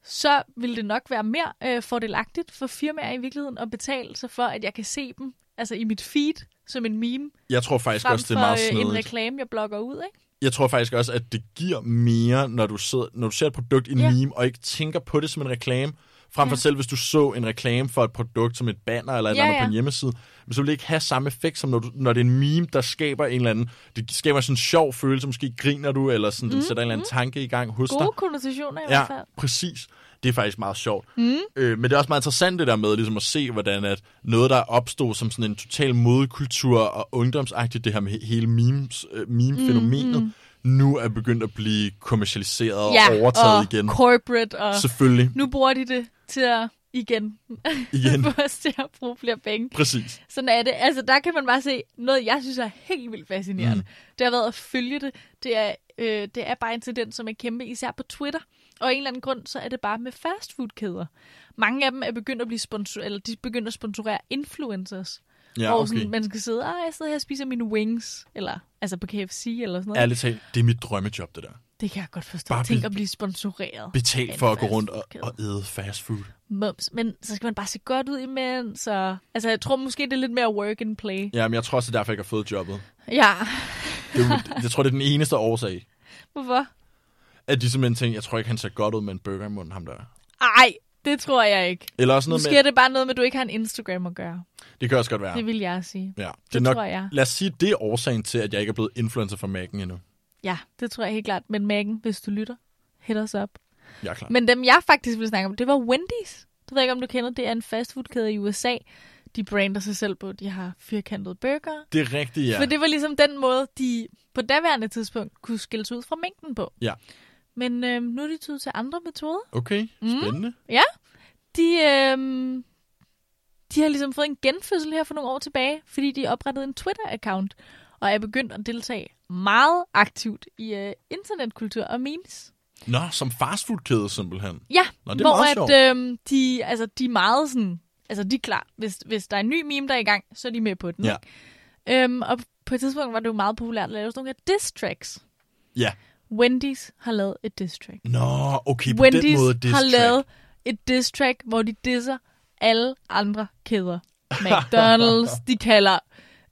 Speaker 1: så vil det nok være mere øh, fordelagtigt for firmaer i virkeligheden at betale sig for, at jeg kan se dem altså i mit feed som en meme,
Speaker 2: Jeg tror faktisk
Speaker 1: frem
Speaker 2: også, det er meget
Speaker 1: for øh, en
Speaker 2: snedigt.
Speaker 1: reklame, jeg blokker ud. Ikke?
Speaker 2: jeg tror faktisk også, at det giver mere, når du, sidder, når du ser et produkt i en
Speaker 1: Ja.
Speaker 2: meme, og ikke tænker på det som en reklame. Frem for
Speaker 1: Ja.
Speaker 2: ja. selv, hvis du så en reklame for et produkt som et banner eller et
Speaker 1: Ja,
Speaker 2: ja, andet
Speaker 1: ja.
Speaker 2: på en hjemmeside, men så vil det ikke have samme effekt, som når, du, når det er en meme, der skaber en eller anden... Det skaber sådan en sjov følelse, måske griner du, eller sådan, mm, den sætter en eller anden tanke i gang hos dig.
Speaker 1: Gode konnotationer i ja. hvert
Speaker 2: Ja,
Speaker 1: fald.
Speaker 2: præcis. Det er faktisk meget sjovt. Mm. Øh, men det er også meget interessant det der med ligesom at se, hvordan at noget, der opstod som sådan en total modekultur og ungdomsagtigt, det her med he- hele memes, øh, meme-fænomenet, mm, mm. nu er begyndt at blive kommercialiseret og overtaget
Speaker 1: og
Speaker 2: igen.
Speaker 1: corporate, og
Speaker 2: Selvfølgelig.
Speaker 1: nu bruger de det til at igen,
Speaker 2: Igen.
Speaker 1: få os til at bruge flere penge.
Speaker 2: Præcis.
Speaker 1: Sådan er det. Altså, der kan man bare se noget, jeg synes er helt vildt fascinerende. Mm. Det har været at følge det. Det er, øh, det er bare en tendens, som er kæmpe, især på Twitter. Og af en eller anden grund, så er det bare med fastfoodkæder. Mange af dem er begyndt at blive sponsor, eller de begynder at sponsorere influencers.
Speaker 2: Ja,
Speaker 1: hvor
Speaker 2: okay.
Speaker 1: sådan, man skal sidde, ah, jeg sidder her og spiser mine wings, eller altså på KFC eller sådan noget.
Speaker 2: Ærligt talt, det er mit drømmejob, det der.
Speaker 1: Det kan jeg godt forstå.
Speaker 2: Bare
Speaker 1: Tænk
Speaker 2: blive-
Speaker 1: at blive sponsoreret.
Speaker 2: Betalt
Speaker 1: En
Speaker 2: for at gå rundt og,
Speaker 1: fastfoodkæde.
Speaker 2: og æde fast food.
Speaker 1: Mums. Men så skal man bare se godt ud imens. Og... Altså, jeg tror måske, det er lidt mere work and play.
Speaker 2: Ja, men jeg tror også, det er derfor, jeg ikke har fået jobbet.
Speaker 1: Ja.
Speaker 2: Det, er jo- jeg tror, det er den eneste årsag.
Speaker 1: Hvorfor?
Speaker 2: At de simpelthen tænkte, jeg tror ikke, han ser godt ud med en burger i munden, ham der.
Speaker 1: Ej, det tror jeg ikke.
Speaker 2: Eller også noget
Speaker 1: Måske
Speaker 2: med,
Speaker 1: er det bare noget med, at du ikke har en Instagram at gøre.
Speaker 2: det kan også godt
Speaker 1: Ja.
Speaker 2: være.
Speaker 1: Det vil jeg sige.
Speaker 2: Ja, det,
Speaker 1: det
Speaker 2: er nok,
Speaker 1: tror jeg.
Speaker 2: Lad os sige, det er årsagen til, at jeg ikke er blevet influencer for Mac'en endnu.
Speaker 1: Ja, det tror jeg helt klart. Men Megan, hvis du lytter, hit os op.
Speaker 2: Jeg er klar.
Speaker 1: Men dem, jeg faktisk ville snakke om, det var Wendy's. Det ved jeg ikke, om du kender. Det er en fastfoodkæde i USA. De brander sig selv på, at de har firkantede burger.
Speaker 2: Det er rigtigt, ja.
Speaker 1: Ja. For det var ligesom den måde, de på daværende tidspunkt kunne skille sig ud fra mængden på.
Speaker 2: Ja.
Speaker 1: Men øh, nu er de tydet til andre metoder.
Speaker 2: Okay,
Speaker 1: Mm.
Speaker 2: spændende.
Speaker 1: De, øhm, de har ligesom fået en genfødsel her for nogle år tilbage, fordi de oprettede en Twitter-account og er begyndt at deltage meget aktivt i øh, internetkultur og memes.
Speaker 2: Nå, som fastfoodkæde simpelthen.
Speaker 1: Ja,
Speaker 2: Nå, det er
Speaker 1: hvor
Speaker 2: meget
Speaker 1: at,
Speaker 2: sjovt.
Speaker 1: øhm, de, altså, de er meget sådan... Altså, de er klar. Hvis, hvis der er en ny meme, der er i gang, så er de med på den.
Speaker 2: Ja.
Speaker 1: ikke? Øhm, og på et tidspunkt var det jo meget populært at lave sådan nogle her diss tracks.
Speaker 2: Ja.
Speaker 1: Wendy's har lavet et diss track.
Speaker 2: Nå, okay, på
Speaker 1: Wendy's
Speaker 2: den måde diss
Speaker 1: har
Speaker 2: track.
Speaker 1: lavet et diss track, hvor de disser alle andre kæder. McDonald's, de kalder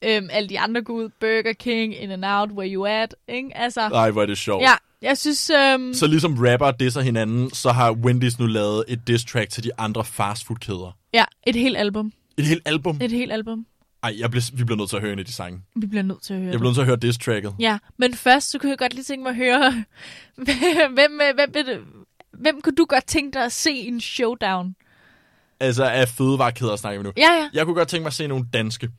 Speaker 1: øhm, alle de andre gode ud. Burger King, In-N-Out, Where You At. Ikke? Altså,
Speaker 2: Nej, hvor er det sjovt.
Speaker 1: ja, jeg synes... Øhm,
Speaker 2: Ah, oh. Så ligesom rapper disser hinanden, så har Wendy's nu lavet et diss track til de andre fastfoodkæder.
Speaker 1: ja, et helt album.
Speaker 2: Et helt album.
Speaker 1: Et helt album.
Speaker 2: Ej, jeg bliver, vi bliver nødt til at høre en af de sange.
Speaker 1: Vi bliver nødt til at høre
Speaker 2: Jeg
Speaker 1: det.
Speaker 2: bliver nødt til at høre diss tracket.
Speaker 1: Ja, men først så kunne jeg godt lige tænke mig at høre, hvem, øh, hvem, vil du- hvem kunne du godt tænke dig at se i en showdown?
Speaker 2: Altså af fødevarekæder snakker vi nu.
Speaker 1: Ja, ja.
Speaker 2: Jeg kunne godt tænke mig at se nogle danske.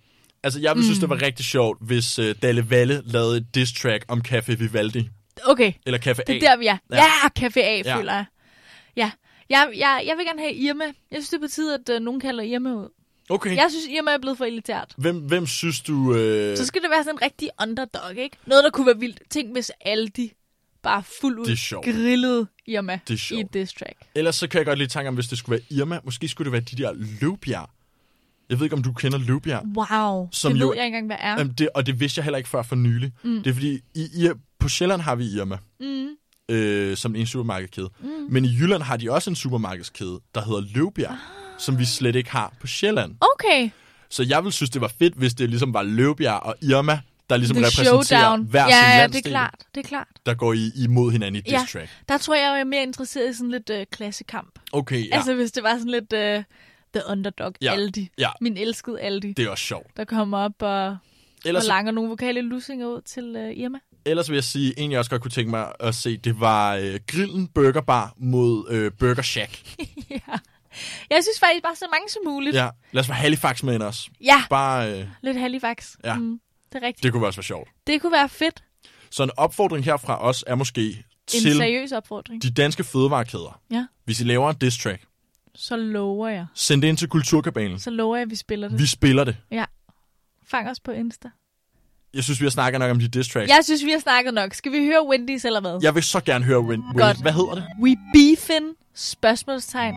Speaker 2: Altså, jeg ville mm. synes, det var rigtig sjovt, hvis uh, Dalle Valle lavede et diss track om Café Vivaldi.
Speaker 1: Okay,
Speaker 2: Eller Café
Speaker 1: det er
Speaker 2: A.
Speaker 1: der, vi er. Ja,
Speaker 2: Ja.
Speaker 1: ja Café A,
Speaker 2: Ja.
Speaker 1: føler jeg. Ja, jeg, jeg, jeg vil gerne have Irma. Jeg synes, det er på tide, at øh, nogen kalder Irma ud.
Speaker 2: Okay.
Speaker 1: Jeg synes, Irma er blevet for elitært.
Speaker 2: Hvem, hvem synes du... Øh,
Speaker 1: Så skal det være sådan en rigtig underdog, ikke? Noget, der kunne være vildt. Tænk, hvis Aldi bare fuldt
Speaker 2: Det er
Speaker 1: ud
Speaker 2: sjovt.
Speaker 1: grillede Irma
Speaker 2: Det er
Speaker 1: i
Speaker 2: sjovt.
Speaker 1: et diss track.
Speaker 2: Ellers så kan jeg godt lige tænke om, hvis det skulle være Irma. Måske skulle det være de der løbjerg. Jeg ved ikke, om du kender løbjerg.
Speaker 1: Wow,
Speaker 2: Som
Speaker 1: det
Speaker 2: jo-
Speaker 1: ved jeg ikke engang, hvad er.
Speaker 2: Jamen det, og det vidste jeg heller ikke før for nylig. Mm. Det er fordi, i, i, på Sjælland har vi Irma, mm. øh, som en supermarkedskæde. Mm. Men i Jylland har de også en supermarkedskæde, der hedder Løvbjerg, ah. som vi slet ikke har på Sjælland.
Speaker 1: Okay,
Speaker 2: Så jeg ville synes, det var fedt, hvis det ligesom var Løvbjerg og Irma, der ligesom
Speaker 1: The
Speaker 2: repræsenterer
Speaker 1: Showdown.
Speaker 2: hver
Speaker 1: ja,
Speaker 2: sin
Speaker 1: ja,
Speaker 2: landsdel,
Speaker 1: det er klart, det er klart.
Speaker 2: der går i, imod hinanden i diss
Speaker 1: Ja.
Speaker 2: track.
Speaker 1: Der tror jeg, jeg er mere interesseret i sådan lidt øh, klassekamp.
Speaker 2: Okay,
Speaker 1: Ja.
Speaker 2: ja.
Speaker 1: Altså hvis det var sådan lidt øh, The Underdog, ja.
Speaker 2: Ja.
Speaker 1: Aldi.
Speaker 2: Ja.
Speaker 1: Min elskede Aldi, det.
Speaker 2: det er også sjovt.
Speaker 1: der kommer op og, og
Speaker 2: Ellers,
Speaker 1: langer nogle vokale lussinger ud til øh, Irma.
Speaker 2: ellers vil jeg sige, en jeg også godt kunne tænke mig at se, det var øh, Grillen Burger Bar mod øh, Burger Shack.
Speaker 1: Jeg synes faktisk bare så mange som muligt.
Speaker 2: Ja, lad os få Halifax med ind også.
Speaker 1: ja
Speaker 2: Bare, øh,
Speaker 1: lidt Halifax.
Speaker 2: Ja.
Speaker 1: Mm, det er rigtigt. Det.
Speaker 2: det kunne også være sjovt.
Speaker 1: det kunne være fedt.
Speaker 2: Så en opfordring herfra os er måske
Speaker 1: En
Speaker 2: til
Speaker 1: seriøs opfordring.
Speaker 2: de danske fødevarekæder.
Speaker 1: Ja.
Speaker 2: Hvis I laver en diss track,
Speaker 1: Så lover jeg.
Speaker 2: send det ind til Kulturkabalen.
Speaker 1: Så lover jeg, at vi spiller det.
Speaker 2: Vi spiller det.
Speaker 1: Fang os på Insta.
Speaker 2: Jeg synes, vi har snakket nok om de diss tracks.
Speaker 1: Jeg synes, vi har snakket nok. Skal vi høre Wendy's eller hvad?
Speaker 2: Jeg vil så gerne høre Win.
Speaker 1: Godt.
Speaker 2: Win. Hvad hedder det?
Speaker 1: We beefin, spørgsmålstegn,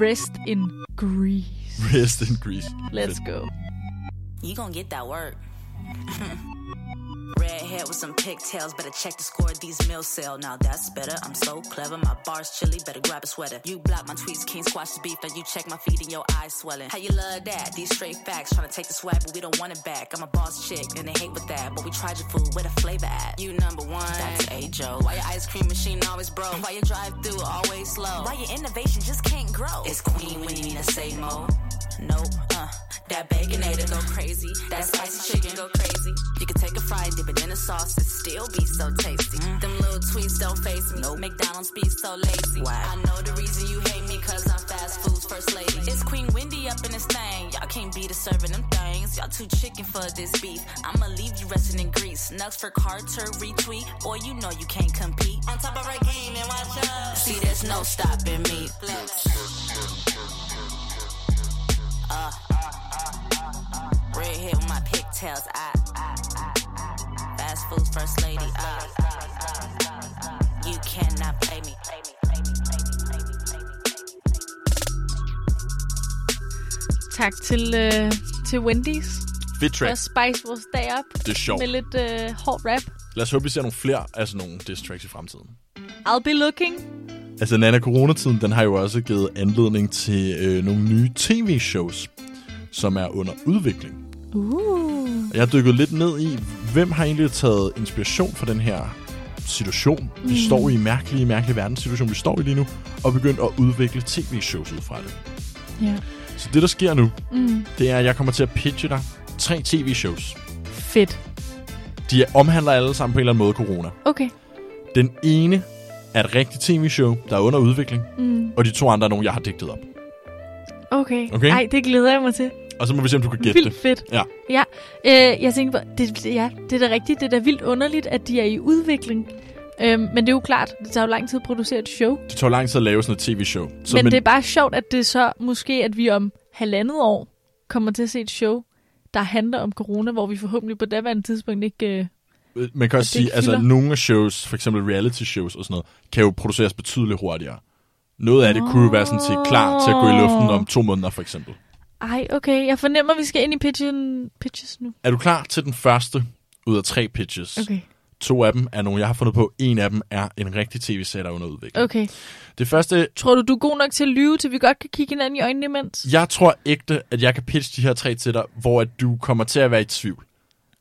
Speaker 1: rest in Greece.
Speaker 2: Rest in Greece.
Speaker 1: Let's go.
Speaker 6: You gonna get that work. Red red hair with some pigtails. Better check the score, these meals sale. Now that's better. I'm so clever. My bar's chilly, better grab a sweater. You block my tweets, can't squash the beef. Now you check my feed and your eyes swelling. How you love that? These straight facts. Tryna take the swag, but we don't want it back. I'm a boss chick, and they hate with that. But we tried your food, where the flavor at? You number one. That's A Joe. Why your ice cream machine always broke? Why your drive through always slow?
Speaker 4: Why your innovation just can't grow?
Speaker 6: It's Queen Winnie the same mo. Nope, uh, that baconator go crazy. That spicy chicken go crazy. You can take a fry, dip it in a sauce, it still be so tasty. Them little tweets don't face me. Nope. McDonald's be so lazy. I know the reason you hate me, cause I'm fast food's first lady. It's Queen Wendy up in this thing. Y'all can't be the serving them things. Y'all too chicken for this beef. I'ma leave you resting in grease. Nugs for Carter retweet, or you know you can't compete. On top of our game and watch out. See, there's no stopping me. Flex. Red hair with my pigtails. I, I, I, I. Fast food first lady. I, I, I, I. You cannot play me. Play me, play me, play me, play me, play me, play me.
Speaker 1: Tak til, øh, til Wendy's
Speaker 2: Fedt
Speaker 1: for
Speaker 2: track.
Speaker 1: at spice vores dag op
Speaker 2: Det er sjovt.
Speaker 1: med lidt øh, hård rap.
Speaker 2: Lad os håbe, vi ser nogle flere af sådan nogle diss tracks i fremtiden.
Speaker 1: I'll be looking.
Speaker 2: Altså, Nana Coronatiden, den har jo også givet anledning til øh, nogle nye tv-shows, som er under udvikling.
Speaker 1: Uh.
Speaker 2: Og Jeg har dykket lidt ned i, hvem har egentlig taget inspiration fra den her situation, vi
Speaker 1: Mm.
Speaker 2: står i, mærkelige, mærkelige verdenssituation, vi står i lige nu, og begyndt at udvikle tv-shows ud fra det.
Speaker 1: Ja.
Speaker 2: Så det, der sker nu,
Speaker 1: Mm.
Speaker 2: det er, at jeg kommer til at pitche dig tre tv-shows.
Speaker 1: Fedt.
Speaker 2: De omhandler alle sammen på en eller anden måde corona.
Speaker 1: Okay.
Speaker 2: Den ene er et rigtigt tv-show, der er under udvikling,
Speaker 1: Mm.
Speaker 2: og de to andre er nogle, jeg har digtet op.
Speaker 1: Okay.
Speaker 2: Okay.
Speaker 1: Ej, det glæder jeg mig til.
Speaker 2: Og så må vi se, om du kan gætte
Speaker 1: vildt
Speaker 2: det.
Speaker 1: fedt.
Speaker 2: Ja.
Speaker 1: ja. Øh, jeg tænkte, bare, det, det- ja, det er da rigtigt. Det er da vildt underligt, at de er i udvikling. Øhm, men det er jo klart, det tager jo lang tid at producere et show.
Speaker 2: Det tager lang tid at lave sådan et tv-show. Så,
Speaker 1: Så, men, men det er bare sjovt, at det så måske, at vi om halvandet år kommer til at se et show, der handler om corona, hvor vi forhåbentlig på daværende tidspunkt ikke... Øh,
Speaker 2: Øh, Man kan også
Speaker 1: det ikke
Speaker 2: sige, altså
Speaker 1: fylder.
Speaker 2: nogle af shows, for eksempel reality shows og sådan noget, kan jo produceres betydeligt hurtigere. Noget af det kunne jo være sådan set klar til at gå i luften om to måneder, for eksempel.
Speaker 1: ej, okay, jeg fornemmer, at vi skal ind i pitchen, pitches nu.
Speaker 2: Er du klar til den første ud af tre pitches?
Speaker 1: Okay,
Speaker 2: To af dem er nogle, jeg har fundet på. En af dem er en rigtig tv-serie, der er under udvikling.
Speaker 1: okay.
Speaker 2: Det første,
Speaker 1: Tror du, du er god nok til at lyve, til vi godt kan kigge hinanden i øjnene imens?
Speaker 2: jeg tror ægte, at jeg kan pitche de her tre til dig, hvor at du kommer til at være i tvivl.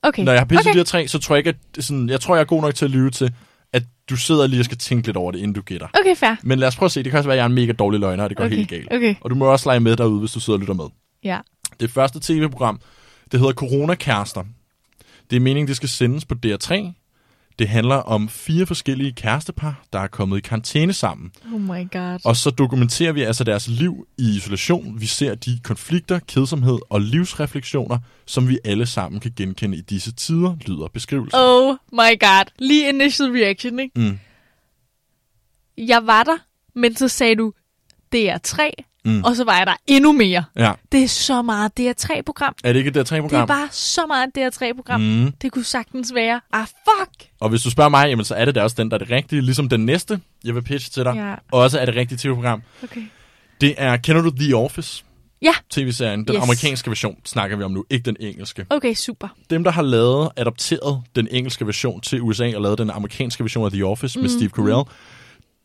Speaker 1: Okay,
Speaker 2: Når jeg har pitchet okay.
Speaker 1: okay.
Speaker 2: de her tre, så tror jeg ikke, at det er sådan, jeg tror, jeg er god nok til at lyve til, at du sidder lige og skal tænke lidt over det, inden du gætter.
Speaker 1: Okay, fair.
Speaker 2: Men lad os prøve at se. Det kan også være, at jeg er en mega dårlig løgner, og det går
Speaker 1: Okay,
Speaker 2: helt galt.
Speaker 1: okay.
Speaker 2: Og du må også lege med derude, hvis du sidder og lytter med.
Speaker 1: Ja.
Speaker 2: Det første tv-program, det hedder Corona-kærester. Det er meningen, det skal sendes på DR3. Det handler om fire forskellige kærestepar, der er kommet i karantæne sammen.
Speaker 1: Oh my god.
Speaker 2: Og så dokumenterer vi altså deres liv i isolation. Vi ser de konflikter, kedsomhed og livsrefleksioner, som vi alle sammen kan genkende i disse tider, lyder beskrivelsen.
Speaker 1: Oh my god. Lige initial reaction, ikke?
Speaker 2: Mm.
Speaker 1: Jeg var der, men så sagde du, det er tre,
Speaker 2: Mm.
Speaker 1: og så var jeg der endnu mere.
Speaker 2: Ja.
Speaker 1: Det er så meget DR3-program.
Speaker 2: Er det ikke et
Speaker 1: Det er
Speaker 2: DR3-program?
Speaker 1: bare så meget DR3-program. Mm.
Speaker 2: mm.
Speaker 1: Det kunne sagtens være. Ah, fuck!
Speaker 2: Og hvis du spørger mig, jamen, så er det da også den, der er det rigtige. Ligesom den næste, jeg vil pitche til dig,
Speaker 1: Ja.
Speaker 2: også er det rigtige tv-program.
Speaker 1: Okay.
Speaker 2: Det er, kender du The Office?
Speaker 1: Ja.
Speaker 2: TV-serien, den
Speaker 1: Yes.
Speaker 2: yes. amerikanske version, snakker vi om nu, ikke den engelske.
Speaker 1: Okay, super.
Speaker 2: Dem, der har lavet, adopteret den engelske version til USA og lavet den amerikanske version af The Office mm. med Steve Carell,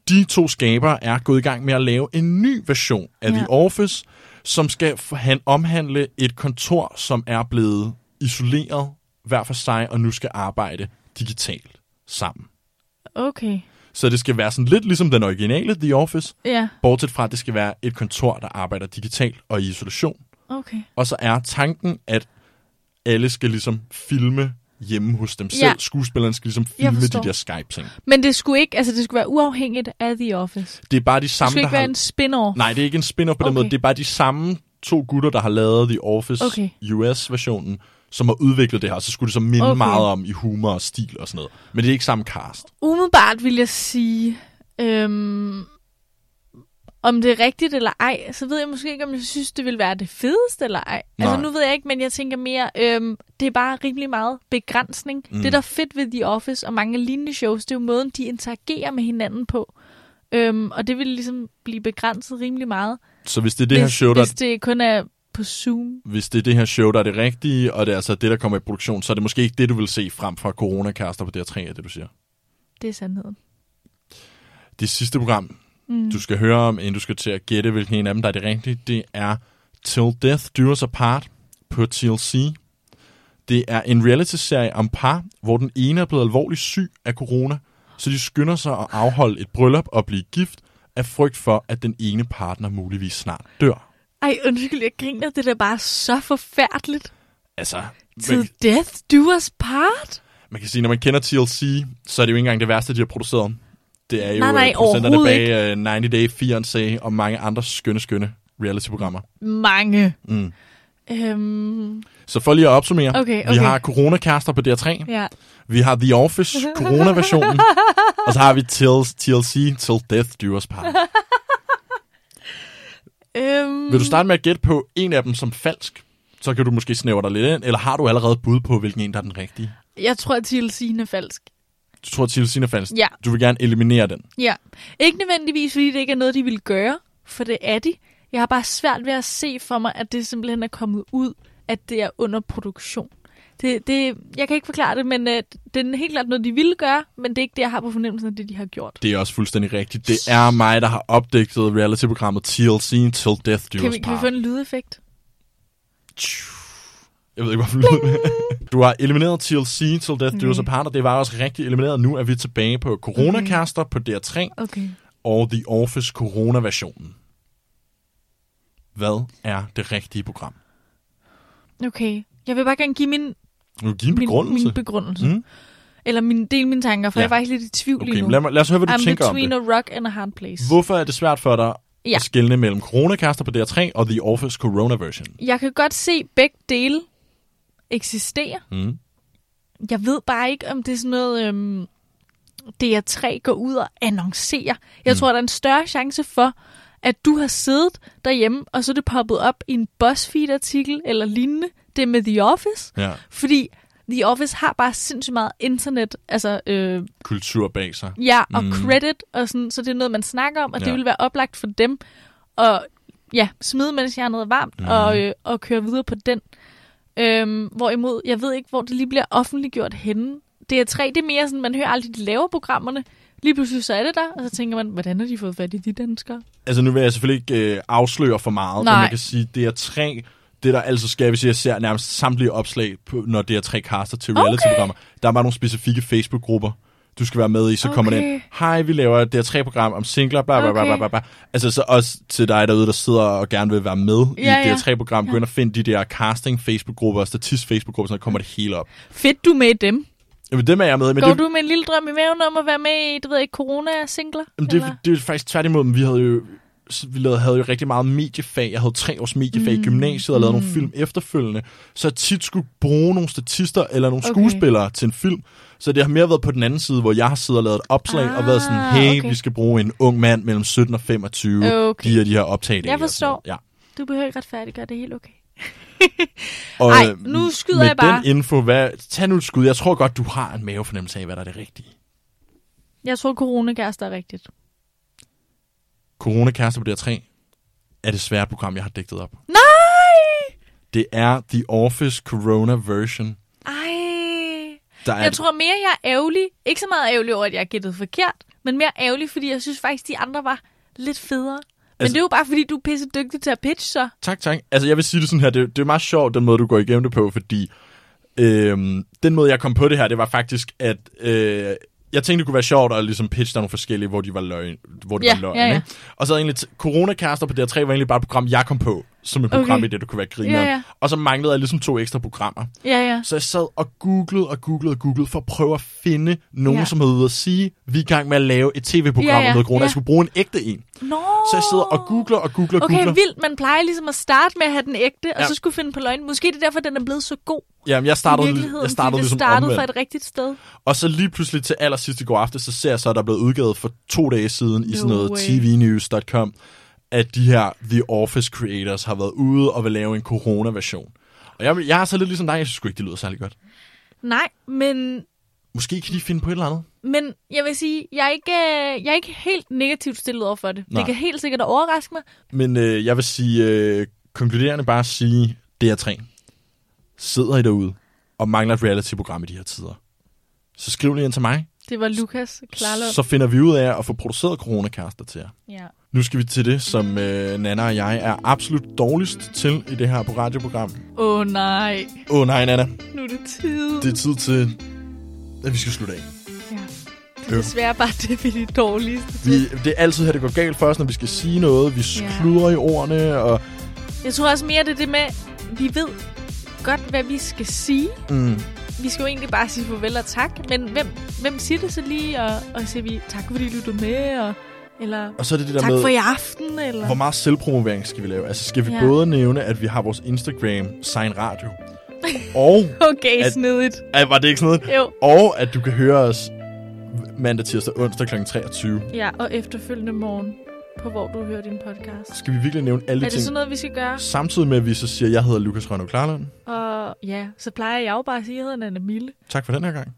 Speaker 2: de to skabere er gået i gang med at lave en ny version af
Speaker 1: Ja.
Speaker 2: The Office, som skal f- han omhandle et kontor, som er blevet isoleret hver for sig, og nu skal arbejde digitalt sammen.
Speaker 1: Okay.
Speaker 2: Så det skal være sådan lidt ligesom den originale The Office,
Speaker 1: Ja,
Speaker 2: bortset fra, at det skal være et kontor, der arbejder digitalt og i isolation.
Speaker 1: okay.
Speaker 2: Og så er tanken, at alle skal ligesom filme hjemme hos dem selv.
Speaker 1: Ja.
Speaker 2: Skuespillerne skal ligesom
Speaker 1: Jeg
Speaker 2: filme
Speaker 1: forstår.
Speaker 2: de der Skype-ting.
Speaker 1: Men det skulle ikke, altså det skulle være uafhængigt af The Office.
Speaker 2: Det er bare de
Speaker 1: Det
Speaker 2: samme,
Speaker 1: skulle
Speaker 2: der
Speaker 1: ikke være
Speaker 2: har...
Speaker 1: en spin-off.
Speaker 2: Nej, det er ikke en spin-off på den
Speaker 1: Okay.
Speaker 2: måde. Det er bare de samme to gutter, der har lavet The Office
Speaker 1: Okay.
Speaker 2: US-versionen, som har udviklet det her. Så skulle det så minde
Speaker 1: Okay.
Speaker 2: okay. meget om i humor og stil og sådan noget. Men det er ikke samme cast.
Speaker 1: Umiddelbart vil jeg sige, øhm, om det er rigtigt eller ej, så ved jeg måske ikke, om jeg synes, det ville være det fedeste eller ej. Nej. Altså
Speaker 2: Nej.
Speaker 1: nu ved jeg ikke, men jeg tænker mere, øhm, det er bare rimelig meget begrænsning. Mm. Det, der er fedt ved The Office og mange lignende shows, det er jo måden, de interagerer med hinanden på. Øhm, og det vil ligesom blive begrænset rimelig meget.
Speaker 2: Så hvis det er det her show, der...
Speaker 1: hvis det kun er på Zoom.
Speaker 2: hvis det er det her show, der er det rigtige, og det er altså det, der kommer i produktion, så er det måske ikke det, du vil se frem fra coronakaster på DR3, er det du siger.
Speaker 1: Det er sandheden.
Speaker 2: Det sidste program, mm. du skal høre om, inden du skal til at gætte, hvilken en af dem, der er det rigtige, det er Till Death Do Us Apart på TLC. Det er en reality-serie om par, hvor den ene er blevet alvorligt syg af corona, så de skynder sig at afholde et bryllup og blive gift af frygt for, at den ene partner muligvis snart dør.
Speaker 1: Ej, undskyld, jeg griner. Det er da bare så forfærdeligt.
Speaker 2: Altså,
Speaker 1: Til
Speaker 2: man,
Speaker 1: death do us part?
Speaker 2: man kan sige, når man kender TLC, så er det jo ikke engang det værste, de har produceret. Det er jo
Speaker 1: Nej, nej,
Speaker 2: øh, producenterne
Speaker 1: overhovedet
Speaker 2: bag uh, 90 Day Fiancé og mange andre skønne, skønne reality-programmer.
Speaker 1: Mange.
Speaker 2: Mm.
Speaker 1: Øhm,
Speaker 2: Så for lige at opsummere,
Speaker 1: Okay,
Speaker 2: vi
Speaker 1: okay.
Speaker 2: har coronakaster på DR3,
Speaker 1: ja.
Speaker 2: vi har The Office, corona-versionen, og så har vi TLC, TLC Till Death Do Us Part.
Speaker 1: Øhm,
Speaker 2: Vil du starte med at gætte på en af dem som falsk? Så kan du måske snævre dig lidt ind, eller har du allerede bud på, hvilken en, der er den rigtige?
Speaker 1: Jeg tror, at TLC'en er falsk.
Speaker 2: Du tror, at TLC er falsk?
Speaker 1: Ja.
Speaker 2: Du vil gerne eliminere den.
Speaker 1: Ja. Ikke nødvendigvis, fordi det ikke er noget, de vil gøre, for det er de. Jeg har bare svært ved at se for mig, at det simpelthen er kommet ud, at det er under produktion. Det, det, jeg kan ikke forklare det, men øh, det er helt klart noget, de ville gøre, men det er ikke det, jeg har på fornemmelsen af det, de har gjort.
Speaker 2: Det er også fuldstændig rigtigt. Det er mig, der har opdaget reality-programmet TLC Till Death Do
Speaker 1: Kan
Speaker 2: Us
Speaker 1: vi, kan vi
Speaker 2: Part.
Speaker 1: få en lydeffekt?
Speaker 2: Jeg ved ikke, hvorfor lyd Du har elimineret TLC Till Death
Speaker 1: Mm.
Speaker 2: Do Us Part, og det var også rigtigt elimineret. Nu er vi tilbage på coronakaster på DR3
Speaker 1: Okay.
Speaker 2: og The Office Corona-versionen. Hvad er det rigtige program?
Speaker 1: Okay. Jeg vil bare gerne give min,
Speaker 2: Nu giv en
Speaker 1: min
Speaker 2: begrundelse.
Speaker 1: min begrundelse.
Speaker 2: Mm.
Speaker 1: Mm. Eller min, del mine tanker, for
Speaker 2: Ja.
Speaker 1: jeg er faktisk lidt i tvivl
Speaker 2: okay,
Speaker 1: lige nu.
Speaker 2: men lad, mig, lad os høre, hvad du
Speaker 1: I'm
Speaker 2: tænker om
Speaker 1: between
Speaker 2: det.
Speaker 1: a rock and a hard place.
Speaker 2: Hvorfor er det svært for dig ja.
Speaker 1: Ja.
Speaker 2: at skelne mellem coronakaster på DR3 og The Office Corona-version?
Speaker 1: Jeg kan godt se, at begge dele eksisterer.
Speaker 2: Mm.
Speaker 1: Jeg ved bare ikke, om det er sådan noget, øhm, DR3 går ud og annoncerer. Jeg mm. tror, der er en større chance for, at du har siddet derhjemme, og så er det poppet op i en BuzzFeed-artikel eller lignende. Det er med The Office.
Speaker 2: Ja,
Speaker 1: Fordi The Office har bare sindssygt meget internet, altså øh,
Speaker 2: kultur bag sig.
Speaker 1: ja, og
Speaker 2: Mm.
Speaker 1: mm. credit, og sådan, så det er noget, man snakker om, og ja.
Speaker 2: Ja.
Speaker 1: det vil være oplagt for dem at ja, smide, mens jeg er noget varmt, mm. og, øh, og køre videre på den. Øhm, hvorimod, jeg ved ikke, hvor det lige bliver offentliggjort henne. Det er tre, det er mere sådan, man hører aldrig, de laver programmerne. Lige pludselig så er det der, og så tænker man, hvordan har de fået fat i de danskere?
Speaker 2: Altså nu vil jeg selvfølgelig ikke øh, afsløre for meget, Nej. men
Speaker 1: Nej.
Speaker 2: man kan sige, det er tre, det der altså sker, hvis jeg ser nærmest samtlige opslag, på, når det er tre caster til reality-programmer. Der er bare nogle specifikke Facebook-grupper, du skal være med i, så okay. kommer den
Speaker 1: Okay.
Speaker 2: ind. Hej, vi laver det her tre program om singler, bla bla bla
Speaker 1: Okay.
Speaker 2: bla bla. Altså så også til dig derude, der sidder og gerne vil være med ja, i
Speaker 1: Ja,
Speaker 2: det her
Speaker 1: ja.
Speaker 2: tre program, gå ind og find de der casting Facebook-grupper og statist Facebook-grupper, så kommer det hele op.
Speaker 1: Fedt, du er med i dem.
Speaker 2: Jamen dem er jeg med, i, men
Speaker 1: Men Går
Speaker 2: det,
Speaker 1: det... du med en lille drøm i maven om at være med i, du ved ikke, corona-singler?
Speaker 2: Jamen,
Speaker 1: eller?
Speaker 2: det, det er faktisk tværtimod, men vi havde jo s- vi lavede, havde jo rigtig meget mediefag. Jeg havde tre års mediefag mm. i gymnasiet og lavede mm. nogle film efterfølgende. Så jeg tit skulle bruge nogle statister eller nogle okay.
Speaker 1: Okay.
Speaker 2: skuespillere til en film. Så det har mere været på den anden side, hvor jeg har siddet og lavet et opslag ah, og været sådan,
Speaker 1: Ah,
Speaker 2: hey, okay.
Speaker 1: okay.
Speaker 2: vi skal bruge en ung mand mellem 17 og 25.
Speaker 1: Okay.
Speaker 2: De og de her optaget.
Speaker 1: Jeg forstår.
Speaker 2: Ja.
Speaker 1: Du behøver ikke retfærdiggøre, det er helt okay.
Speaker 2: Og
Speaker 1: Ej,
Speaker 2: øh,
Speaker 1: nu skyder
Speaker 2: med
Speaker 1: jeg bare.
Speaker 2: den info, hvad, tag nu et skud. Jeg tror godt, du har en mavefornemmelse af, hvad der er det rigtige.
Speaker 1: Jeg tror, coronakærester er rigtigt.
Speaker 2: Coronakærester på DR3 er det svære program, jeg har digtet op.
Speaker 1: Nej!
Speaker 2: Det er The Office Corona version.
Speaker 1: Ej.
Speaker 2: Der er
Speaker 1: Jeg tror mere, jeg er ærgerlig. Ikke så meget ærgerlig over, at jeg har gættet forkert, men mere ærgerlig, fordi jeg synes faktisk, de andre var lidt federe. Men
Speaker 2: Altså-
Speaker 1: altså, det er jo bare, fordi du er pisse dygtig til at pitche, så.
Speaker 2: Tak, tak. Altså, jeg vil sige det sådan her. Det, det er meget sjovt, den måde, du går igennem det på, fordi øhm, den måde, jeg kom på det her, det var faktisk, at øh, jeg tænkte, det kunne være sjovt at ligesom pitche der nogle forskellige, hvor de var løgn. Hvor de
Speaker 1: Ja,
Speaker 2: var løgn
Speaker 1: ja, ja.
Speaker 2: Ikke? Og så havde jeg egentlig, t- coronakaster på DR3 var egentlig bare et program, jeg kom på, som et program
Speaker 1: Okay.
Speaker 2: i det, du kunne være griner.
Speaker 1: Ja, ja.
Speaker 2: Og så manglede jeg ligesom to ekstra programmer.
Speaker 1: Ja, ja.
Speaker 2: Så jeg sad og googlede og googlede og googlede for at prøve at finde nogen, ja.
Speaker 1: Ja.
Speaker 2: som havde ude at sige, vi er i gang med at lave et tv-program
Speaker 1: Ja, ja,
Speaker 2: om noget corona. Ja.
Speaker 1: ja.
Speaker 2: Jeg skulle bruge en ægte en.
Speaker 1: Nå.
Speaker 2: Så jeg sidder og googler og googler og
Speaker 1: Okay,
Speaker 2: googler.
Speaker 1: vildt. Man plejer ligesom at starte med at have den ægte, ja.
Speaker 2: Ja.
Speaker 1: og så skulle finde på løgn. Måske det er derfor, den er blevet så god
Speaker 2: Jamen, jeg
Speaker 1: i
Speaker 2: startede,
Speaker 1: virkeligheden,
Speaker 2: jeg startede
Speaker 1: fordi det
Speaker 2: ligesom
Speaker 1: startede
Speaker 2: omvendt.
Speaker 1: fra et rigtigt sted.
Speaker 2: Og så lige pludselig til allersidst i går aftes, så ser jeg så, at der er blevet udgivet for to dage siden i sådan
Speaker 1: No
Speaker 2: noget
Speaker 1: way.
Speaker 2: tvnews.com, at de her The Office Creators har været ude og vil lave en corona-version. Og jeg, jeg er så lidt ligesom dig, jeg synes sgu ikke, det lyder særlig godt.
Speaker 1: Nej, men
Speaker 2: Måske kan de finde på et eller andet.
Speaker 1: Men jeg vil sige, jeg er ikke, øh, jeg er ikke helt negativt stillet over for det.
Speaker 2: Nej.
Speaker 1: Det kan helt sikkert overraske mig.
Speaker 2: Men øh, jeg vil sige, øh, konkluderende bare sige, det er tre. Sidder I derude og mangler et reality-program i de her tider, så skriv lige ind til mig.
Speaker 1: Det var Lukas Klarlund.
Speaker 2: Så finder vi ud af at få produceret coronakaster til jer.
Speaker 1: Ja.
Speaker 2: Nu skal vi til det, som øh, Nana og jeg er absolut dårligst til i det her på radioprogram.
Speaker 1: Åh oh, nej,
Speaker 2: Åh oh, nej, Nana.
Speaker 1: nu er det tid.
Speaker 2: Det er tid til, at vi skal slutte af.
Speaker 1: Ja. Det er desværre bare det, vi er de dårligste til.
Speaker 2: Vi, det er altid her, det går galt for os, når vi skal sige noget. Vi
Speaker 1: Ja.
Speaker 2: kludrer i ordene, og
Speaker 1: Jeg tror også mere, det er det med, vi ved godt, hvad vi skal sige.
Speaker 2: mm,
Speaker 1: Vi skal jo egentlig bare sige farvel og tak, men hvem, hvem siger det så lige? Og, og siger vi, tak fordi du lyttede med, og, eller
Speaker 2: og så er det det der
Speaker 1: tak
Speaker 2: med...
Speaker 1: for i aften, eller...
Speaker 2: Hvor meget selvpromovering skal vi lave? Altså, skal vi
Speaker 1: Ja.
Speaker 2: ja. både nævne, at vi har vores Instagram, Sign Radio, og...
Speaker 1: Okay,
Speaker 2: at-
Speaker 1: snedigt.
Speaker 2: Ej, var det ikke sådan noget?
Speaker 1: Jo.
Speaker 2: Og at du kan høre os mandag, tirsdag, onsdag kl. 23.
Speaker 1: Ja, og efterfølgende morgen, på hvor du hører din podcast.
Speaker 2: Skal vi virkelig nævne
Speaker 1: Er
Speaker 2: alle de
Speaker 1: det
Speaker 2: ting?
Speaker 1: sådan noget, vi skal gøre?
Speaker 2: Samtidig med, at vi så siger, at jeg hedder Lukas Rønne Klarlund.
Speaker 1: Og ja, så plejer jeg jo bare at sige, at jeg hedder Nana Mille.
Speaker 2: Tak for den her gang.